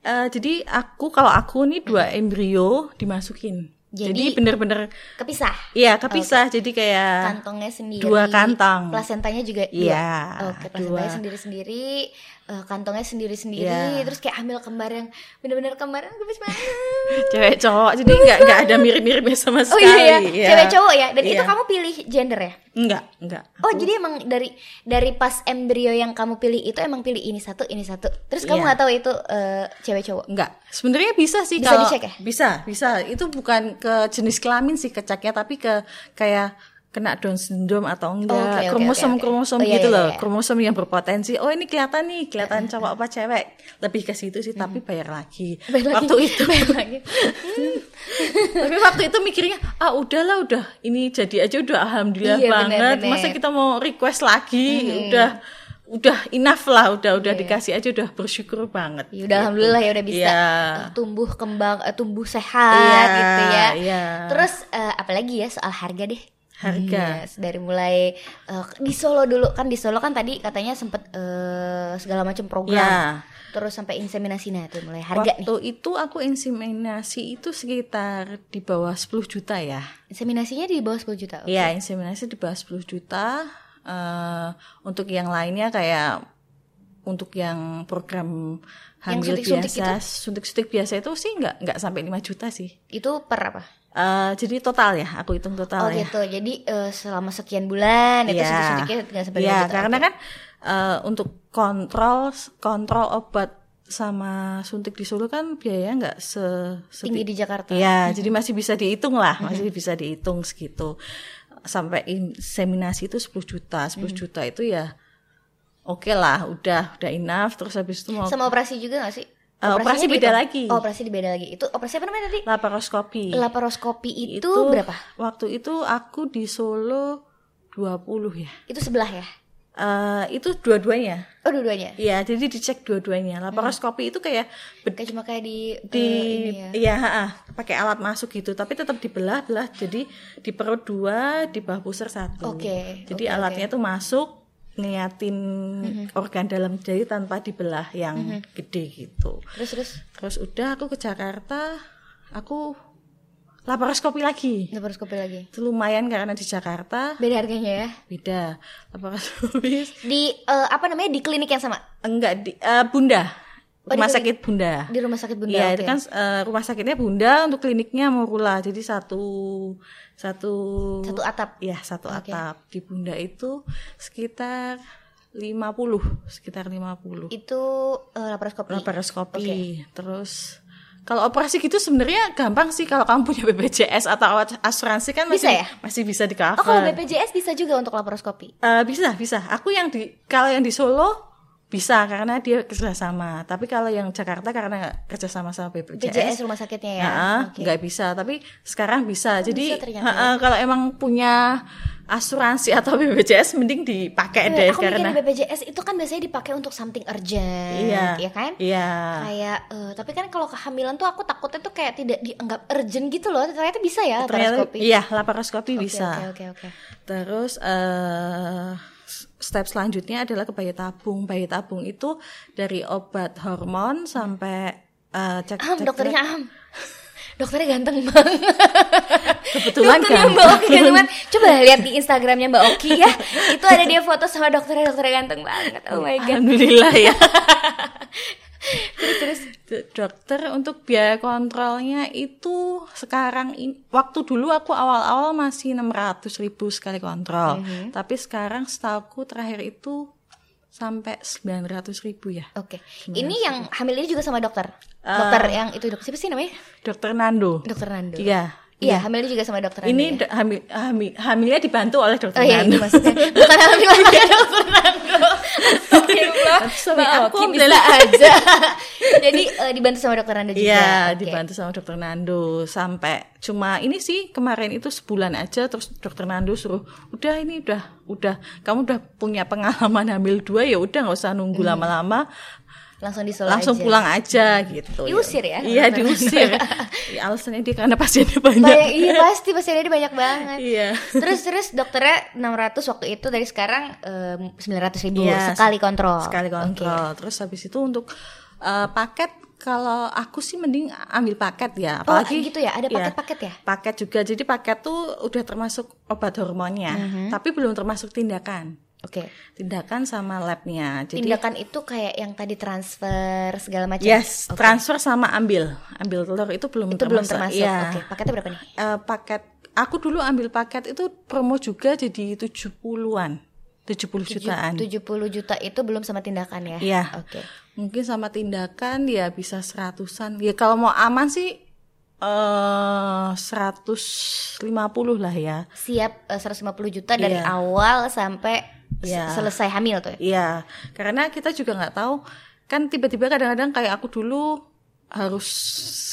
Speaker 2: Eh, jadi aku kalau aku nih dua embrio dimasukin
Speaker 1: Mm-hmm.
Speaker 2: jadi,
Speaker 1: Jadi-
Speaker 2: bener-bener
Speaker 1: Kepisah.
Speaker 2: iya kepisah jadi kayak
Speaker 1: Kantongnya sendiri.
Speaker 2: Dua kantong.
Speaker 1: Plasentanya juga dua.
Speaker 2: Iya,
Speaker 1: Oke,
Speaker 2: dua.
Speaker 1: plasentanya sendiri-sendiri, eh, kantongnya sendiri-sendiri,
Speaker 2: Iya.
Speaker 1: terus kayak hamil kembar yang benar-benar kembar yang kepis banget.
Speaker 2: cewek cowok jadi nggak nggak ada mirip-miripnya sama
Speaker 1: Oh
Speaker 2: sekali
Speaker 1: iya, iya,
Speaker 2: ya.
Speaker 1: cewek cowok ya. Dan itu
Speaker 2: Iya.
Speaker 1: kamu pilih gender ya?
Speaker 2: Enggak, enggak.
Speaker 1: Oh jadi emang dari dari pas embrio yang kamu pilih itu emang pilih ini satu ini satu terus kamu
Speaker 2: Iya.
Speaker 1: nggak tahu itu eh, cewek cowok
Speaker 2: Enggak. Sebenarnya bisa sih
Speaker 1: Bisa
Speaker 2: kalau
Speaker 1: dicek ya?
Speaker 2: bisa, bisa. Itu bukan ke jenis kelamin sih kecaknya tapi ke kayak kena Down syndrome atau
Speaker 1: Oh, oke, oke,
Speaker 2: enggak kromosom
Speaker 1: oke, oke.
Speaker 2: kromosom
Speaker 1: Oh, iya,
Speaker 2: gitu
Speaker 1: iya,
Speaker 2: loh
Speaker 1: iya.
Speaker 2: kromosom yang berpotensi oh ini kelihatan nih kelihatan cowok apa cewek lebih ke situ sih tapi bayar lagi
Speaker 1: Hmm. Bayar lagi.
Speaker 2: waktu itu
Speaker 1: Bayar lagi.
Speaker 2: tapi waktu itu mikirnya ah udahlah udah ini jadi aja udah alhamdulillah
Speaker 1: Iya, benar,
Speaker 2: banget
Speaker 1: benar. Hmm.
Speaker 2: masa kita mau request lagi udah udah enough lah udah
Speaker 1: Iya.
Speaker 2: udah dikasih aja udah bersyukur banget
Speaker 1: Ya udah alhamdulillah ya udah bisa
Speaker 2: gitu. Iya.
Speaker 1: eh, tumbuh kembang eh, tumbuh sehat
Speaker 2: Iya,
Speaker 1: gitu ya
Speaker 2: iya.
Speaker 1: terus eh, apalagi ya soal harga deh
Speaker 2: Harga.
Speaker 1: Yes, dari mulai eh, di Solo dulu kan di Solo kan tadi katanya sempet eh, segala macam program
Speaker 2: Iya.
Speaker 1: terus sampai inseminasi nah itu mulai harga nih
Speaker 2: Waktu itu aku inseminasi itu sekitar di bawah 10 juta ya.
Speaker 1: inseminasinya di bawah 10 juta
Speaker 2: Iya, inseminasi di bawah 10 juta. Eh, untuk yang lainnya kayak untuk yang program hamil
Speaker 1: suntik-suntik
Speaker 2: biasa, suntik-suntik biasa itu sih nggak nggak sampai 5 juta sih.
Speaker 1: itu per apa
Speaker 2: Eh, jadi total ya, aku hitung
Speaker 1: Oh
Speaker 2: total ya.
Speaker 1: gitu, jadi eh, selama sekian bulan itu
Speaker 2: Iya.
Speaker 1: suntik-suntiknya nggak sampai
Speaker 2: Iya,
Speaker 1: lima juta.
Speaker 2: karena kan eh, untuk kontrol kontrol obat sama suntik di Solo kan biayanya nggak se
Speaker 1: tinggi di Jakarta.
Speaker 2: Iya, jadi masih bisa dihitung lah, masih bisa dihitung segitu. Sampai inseminasi itu 10 juta, 10
Speaker 1: Hmm.
Speaker 2: juta itu ya oke lah, udah udah enough terus habis itu mau
Speaker 1: Sama operasi juga nggak sih?
Speaker 2: Eh,
Speaker 1: Operasinya
Speaker 2: operasi beda
Speaker 1: dihitung?
Speaker 2: lagi.
Speaker 1: Oh, operasi beda lagi. Itu operasi apa namanya tadi?
Speaker 2: laparoskopi.
Speaker 1: Laparoskopi itu, berapa?
Speaker 2: Waktu itu aku di Solo 20 ya.
Speaker 1: Itu sebelah ya?
Speaker 2: Eh itu dua-duanya.
Speaker 1: Oh dua-duanya?
Speaker 2: Iya, jadi dicek dua-duanya. Laparoskopi itu kayak be-
Speaker 1: Kayak cuma kayak di, eh,
Speaker 2: di
Speaker 1: ini ya.
Speaker 2: iya ha-ha, pakai alat masuk gitu tapi tetap dibelah-belah jadi di perut dua di bawah pusar satu
Speaker 1: Oke, oke,
Speaker 2: jadi
Speaker 1: Mm-hmm.
Speaker 2: alatnya tuh masuk ngeliatin organ dalam jari tanpa dibelah yang gede gitu
Speaker 1: Terus terus
Speaker 2: terus udah aku ke Jakarta aku laparoskopi lagi
Speaker 1: laparoskopi lagi.
Speaker 2: itu lumayan karena di Jakarta
Speaker 1: Beda harganya ya?
Speaker 2: beda laparoskopi
Speaker 1: Di eh, apa namanya? Di klinik yang sama?
Speaker 2: enggak di eh, Bunda
Speaker 1: Oh, di
Speaker 2: rumah
Speaker 1: klinik.
Speaker 2: sakit Bunda
Speaker 1: Di rumah sakit Bunda. ya?
Speaker 2: Iya,
Speaker 1: oke.
Speaker 2: itu kan eh, rumah sakitnya Bunda untuk kliniknya Morula. Jadi satu satu
Speaker 1: satu atap.
Speaker 2: ya satu
Speaker 1: Oke.
Speaker 2: atap di Bunda itu sekitar 50, sekitar 50.
Speaker 1: Itu eh, laparoskopi.
Speaker 2: Laparoskopi.
Speaker 1: Oke.
Speaker 2: Terus kalau operasi gitu sebenarnya gampang sih kalau kamu punya BPJS atau awat- asuransi kan masih
Speaker 1: Bisa ya?
Speaker 2: masih bisa di cover.
Speaker 1: Oh kalau BPJS bisa juga untuk laparoskopi.
Speaker 2: Eh, bisa bisa aku yang di kalau yang di Solo bisa karena dia kerjasama tapi kalau yang Jakarta karena nggak kerjasama sama BPJS
Speaker 1: BPJS rumah sakitnya ya.
Speaker 2: Heeh,
Speaker 1: Oke.
Speaker 2: nggak bisa tapi sekarang bisa
Speaker 1: bisa
Speaker 2: jadi
Speaker 1: ternyata. ya.
Speaker 2: heeh, kalau emang punya asuransi atau BPJS mending dipakai deh
Speaker 1: Iya, aku
Speaker 2: karena
Speaker 1: mikir BPJS itu kan biasanya dipakai untuk something urgent,
Speaker 2: nah. iya
Speaker 1: ya kan?
Speaker 2: iya
Speaker 1: Kayak, eh, tapi kan kalau kehamilan tuh aku takutnya tuh kayak tidak dianggap urgent gitu loh. Ternyata bisa ya
Speaker 2: Ternyata-
Speaker 1: laparoskopi.
Speaker 2: iya laparoskopi
Speaker 1: Oke,
Speaker 2: bisa
Speaker 1: Oke oke oke.
Speaker 2: Terus eh step selanjutnya adalah ke bayi tabung. Bayi tabung itu dari obat hormon sampai eh, cek,
Speaker 1: Am, Ah,
Speaker 2: cek-
Speaker 1: dokternya am. Dokternya ganteng banget.
Speaker 2: kebetulan
Speaker 1: dokternya
Speaker 2: kan.
Speaker 1: Mbak Oki ganteng banget. Coba lihat di Instagramnya Mbak Oki ya. Itu ada dia foto sama dokternya, dokternya ganteng banget. Oh my god.
Speaker 2: Alhamdulillah ya.
Speaker 1: Terus terus
Speaker 2: D- Dokter untuk biaya kontrolnya itu sekarang in- waktu dulu aku awal-awal masih 600.000 ribu sekali kontrol,
Speaker 1: Mhm.
Speaker 2: tapi sekarang setauku terakhir itu sampai 900.000 ribu ya.
Speaker 1: Oke, ini yang hamil ini juga sama dokter. Dokter yang itu dokter siapa sih namanya?
Speaker 2: Dokter Nando.
Speaker 1: Dokter Nando.
Speaker 2: Iya.
Speaker 1: Iya, hamil ini juga sama dokter Nando.
Speaker 2: Ini
Speaker 1: ya?
Speaker 2: da- hamil, hamil- hamilnya dibantu oleh dokter
Speaker 1: Oh iya,
Speaker 2: Nando.
Speaker 1: itu maksudnya bukan hamil lagi dokter Nando. Astagfirullah.
Speaker 2: Sorry,
Speaker 1: Mbak
Speaker 2: aku
Speaker 1: Oki
Speaker 2: ambil-
Speaker 1: bisa aja. Jadi eh, dibantu sama dokter Nando juga.
Speaker 2: Iya,
Speaker 1: Oke.
Speaker 2: dibantu sama dokter Nando sampai cuma ini sih kemarin itu sebulan aja terus dokter Nando suruh udah ini udah udah kamu udah punya pengalaman hamil dua ya udah nggak usah nunggu lama-lama
Speaker 1: Langsung di Solo
Speaker 2: langsung
Speaker 1: Hmm. aja.
Speaker 2: pulang aja gitu.
Speaker 1: Diusir ya,
Speaker 2: Iya
Speaker 1: dokter
Speaker 2: diusir. Ya, alasannya dia karena pasiennya banyak.
Speaker 1: Banyak, iya pasti pasti ada banyak banget.
Speaker 2: Iya.
Speaker 1: Terus terus dokternya 600 waktu itu dari sekarang eh, sembilan 900 ribu
Speaker 2: Iya,
Speaker 1: sekali kontrol.
Speaker 2: Sekali kontrol. Terus habis itu untuk eh, paket kalau aku sih mending ambil paket
Speaker 1: Oh,
Speaker 2: ya. Apalagi
Speaker 1: gitu ya, ada paket-paket ya?
Speaker 2: Paket juga. Jadi paket tuh udah termasuk obat hormonnya,
Speaker 1: Mm-hmm.
Speaker 2: tapi belum termasuk tindakan.
Speaker 1: Oke.
Speaker 2: Tindakan sama labnya. Jadi
Speaker 1: Tindakan itu kayak yang tadi transfer segala macam.
Speaker 2: yes,
Speaker 1: Oke.
Speaker 2: transfer sama ambil. Ambil telur itu belum
Speaker 1: itu belum
Speaker 2: termasuk.
Speaker 1: termasuk.
Speaker 2: Iya.
Speaker 1: Oke, paketnya berapa nih?
Speaker 2: Eh, paket aku dulu ambil paket itu promo juga jadi 70-an. 70 jutaan.
Speaker 1: 70 juta itu belum sama tindakan ya.
Speaker 2: Iya.
Speaker 1: Oke.
Speaker 2: Mungkin sama tindakan ya bisa seratusan. Ya kalau mau aman sih eh 150 lah ya.
Speaker 1: Siap eh, 150 juta dari
Speaker 2: Iya.
Speaker 1: awal sampai se-
Speaker 2: Iya.
Speaker 1: selesai hamil tuh. ya?
Speaker 2: Iya, karena kita juga nggak tahu kan tiba-tiba kadang-kadang kayak aku dulu harus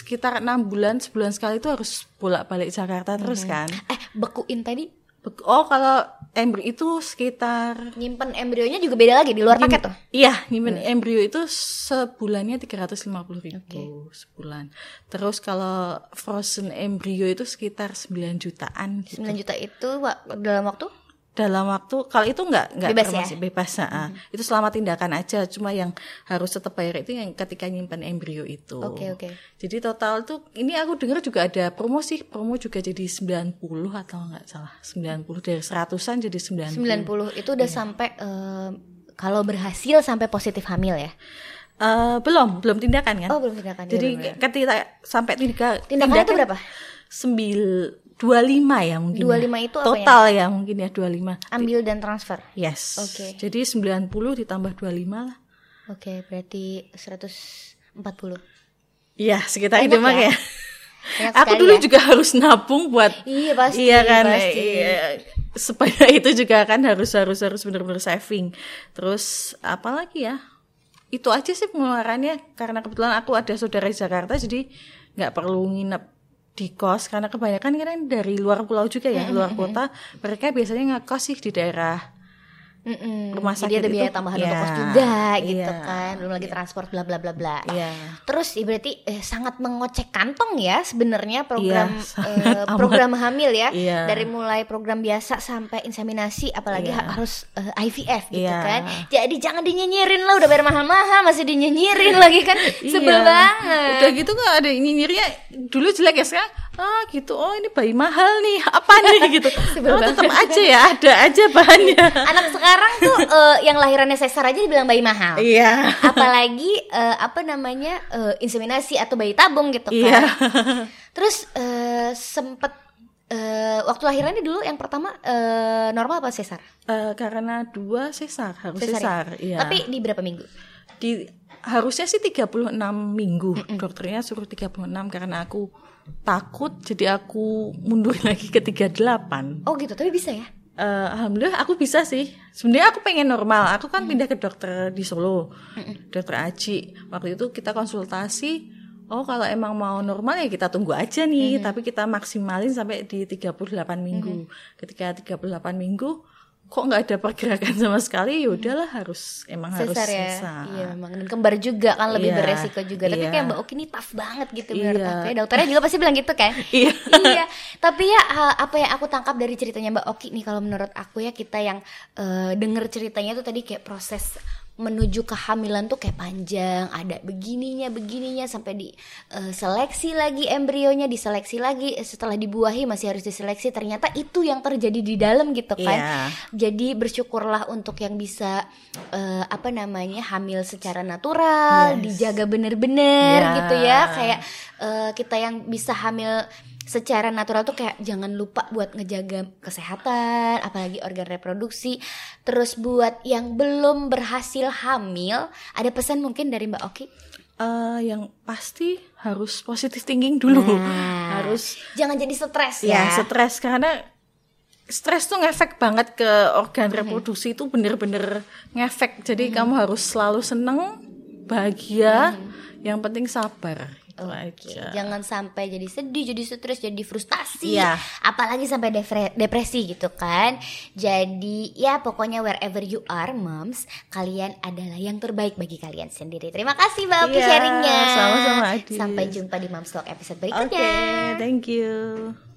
Speaker 2: sekitar enam bulan sebulan sekali itu harus bolak-balik Jakarta terus kan.
Speaker 1: Eh, bekuin tadi
Speaker 2: Be- Oh kalau embrio itu sekitar
Speaker 1: nyimpen embrionya juga beda lagi di luar paket tuh.
Speaker 2: Iya, nyimpen embrio itu sebulannya 350.000 ribu sebulan. Terus kalau frozen embrio itu sekitar 9 jutaan gitu.
Speaker 1: 9 juta itu wa- dalam waktu
Speaker 2: Dalam waktu kalau itu nggak nggak
Speaker 1: Bebas ya? Mm-hmm.
Speaker 2: termasuk bebas, ah. Itu selama tindakan aja, cuma yang harus tetap bayar itu yang ketika nyimpen embrio itu.
Speaker 1: Oke, oke.
Speaker 2: Jadi total tuh ini aku dengar juga ada promo sih, promo juga jadi 90 atau nggak salah. 90 dari 100-an jadi 90.
Speaker 1: 90 itu
Speaker 2: Iya.
Speaker 1: udah sampai eh, kalau berhasil sampai positif hamil ya.
Speaker 2: Eh, belum, belum tindakan kan?
Speaker 1: Oh, belum tindakan. Iya,
Speaker 2: Jadi
Speaker 1: belum, belum.
Speaker 2: ketika sampai tiga
Speaker 1: Tindakannya itu berapa?
Speaker 2: Sembil dua lima ya mungkin.
Speaker 1: 25
Speaker 2: ya.
Speaker 1: itu apa ya?
Speaker 2: total ya? mungkin ya dua lima.
Speaker 1: ambil dan transfer.
Speaker 2: Yes.
Speaker 1: Oke.
Speaker 2: Jadi 90 ditambah 25 lah.
Speaker 1: Oke, berarti 140.
Speaker 2: Iya sekitar
Speaker 1: Enak
Speaker 2: itu mah
Speaker 1: ya?
Speaker 2: ya.
Speaker 1: Enak
Speaker 2: Aku
Speaker 1: sekali
Speaker 2: dulu
Speaker 1: ya.
Speaker 2: juga harus nabung buat.
Speaker 1: Iya, pasti,
Speaker 2: Iya kan.
Speaker 1: pasti.
Speaker 2: Iya. Supaya itu juga kan harus harus harus benar-benar saving. Terus apalagi ya? Itu aja sih pengeluarannya karena kebetulan aku ada saudara di Jakarta jadi nggak perlu nginep di kos karena kebanyakan kan dari luar pulau juga ya luar kota mereka biasanya ngekos sih di daerah
Speaker 1: Mm-mm.
Speaker 2: Rumah
Speaker 1: Jadi
Speaker 2: sakit
Speaker 1: ada biaya
Speaker 2: itu-
Speaker 1: tambahan
Speaker 2: Iya,
Speaker 1: untuk kos juga gitu
Speaker 2: iya,
Speaker 1: kan. Belum lagi transport bla bla bla bla.
Speaker 2: Iya.
Speaker 1: Terus ya berarti eh, sangat mengocek kantong ya sebenarnya program
Speaker 2: Iya, sangat
Speaker 1: eh,
Speaker 2: amat.
Speaker 1: program hamil ya.
Speaker 2: Iya.
Speaker 1: Dari mulai program biasa sampai inseminasi apalagi
Speaker 2: Iya.
Speaker 1: ha- harus eh, IVF gitu
Speaker 2: Iya.
Speaker 1: kan. Jadi jangan dinyinyirin lah udah bayar mahal-mahal masih dinyinyirin lagi kan. Sebel
Speaker 2: Iya.
Speaker 1: banget.
Speaker 2: Udah gitu nggak ada yang nyinyirnya dulu jelek ya sekarang. Ah gitu. Oh ini bayi mahal nih. Apa nih gitu.
Speaker 1: Sebel
Speaker 2: Oh, tetap aja ya. Ada aja bahannya.
Speaker 1: Anak sekarang tuh eh, yang lahirannya sesar aja dibilang bayi mahal.
Speaker 2: Iya.
Speaker 1: apalagi eh, apa namanya eh, inseminasi atau bayi tabung gitu kan
Speaker 2: Iya.
Speaker 1: terus eh, sempet eh, waktu lahirannya dulu yang pertama eh, normal apa sesar
Speaker 2: Eh, karena dua sesar harus
Speaker 1: Sesar ya?
Speaker 2: sesar. Iya.
Speaker 1: tapi di berapa minggu
Speaker 2: di harusnya sih 36 minggu. Dokternya suruh 36 karena aku takut jadi aku mundur lagi ke 38.
Speaker 1: oh gitu tapi bisa ya
Speaker 2: Eh, alhamdulillah aku bisa sih. Sebenarnya aku pengen normal. Aku
Speaker 1: Hmm.
Speaker 2: kan pindah ke dokter di Solo, dokter Aji. Waktu itu kita konsultasi, Oh, kalau emang mau normal ya kita tunggu aja
Speaker 1: Hmm.
Speaker 2: nih, tapi kita maksimalin sampai di 38 minggu. Ketika 38 minggu kok nggak ada pergerakan sama sekali, ya udahlah harus emang harus
Speaker 1: Hmm. sesar ya
Speaker 2: sesar.
Speaker 1: iya memang dan kembar juga kan lebih
Speaker 2: Iya,
Speaker 1: beresiko juga tapi
Speaker 2: iya.
Speaker 1: kayak mbak Oki ini tough banget gitu
Speaker 2: Iya.
Speaker 1: menurut aku ya. dokternya juga pasti bilang gitu kan
Speaker 2: Iya.
Speaker 1: iya tapi ya eh, apa yang aku tangkap dari ceritanya mbak Oki nih kalau menurut aku ya kita yang eh, denger ceritanya tuh tadi kayak proses menuju kehamilan tuh kayak panjang ada begininya begininya sampai di eh, seleksi lagi embrionya diseleksi lagi eh, setelah dibuahi masih harus diseleksi ternyata itu yang terjadi di dalam gitu kan
Speaker 2: Iya.
Speaker 1: jadi bersyukurlah untuk yang bisa eh, apa namanya hamil secara natural,
Speaker 2: Yes.
Speaker 1: dijaga bener-bener
Speaker 2: Ya.
Speaker 1: gitu ya. Kayak eh, kita yang bisa hamil secara natural tuh kayak jangan lupa buat ngejaga kesehatan, apalagi organ reproduksi. Terus buat yang belum berhasil hamil, ada pesan mungkin dari Mbak Oki?
Speaker 2: Eh, yang pasti harus positive thinking dulu.
Speaker 1: Nah,
Speaker 2: harus
Speaker 1: jangan jadi stres
Speaker 2: ya
Speaker 1: ya.
Speaker 2: stres karena stres tuh ngefek banget ke organ reproduksi itu bener-bener ngefek.
Speaker 1: Hmm.
Speaker 2: Jadi kamu harus selalu seneng, bahagia, yang penting sabar. Itu
Speaker 1: Oke,
Speaker 2: Gitu aja.
Speaker 1: jangan sampai jadi sedih, jadi stres, jadi frustasi,
Speaker 2: Iya.
Speaker 1: apalagi sampai defre- depresi gitu kan. Jadi ya pokoknya wherever you are, moms, kalian adalah yang terbaik bagi kalian sendiri. Terima kasih Mbak Oki
Speaker 2: Iya,
Speaker 1: sharingnya.
Speaker 2: sama-sama, Adis.
Speaker 1: Sampai jumpa di Moms Talk episode
Speaker 2: Oke,
Speaker 1: berikutnya.
Speaker 2: thank you.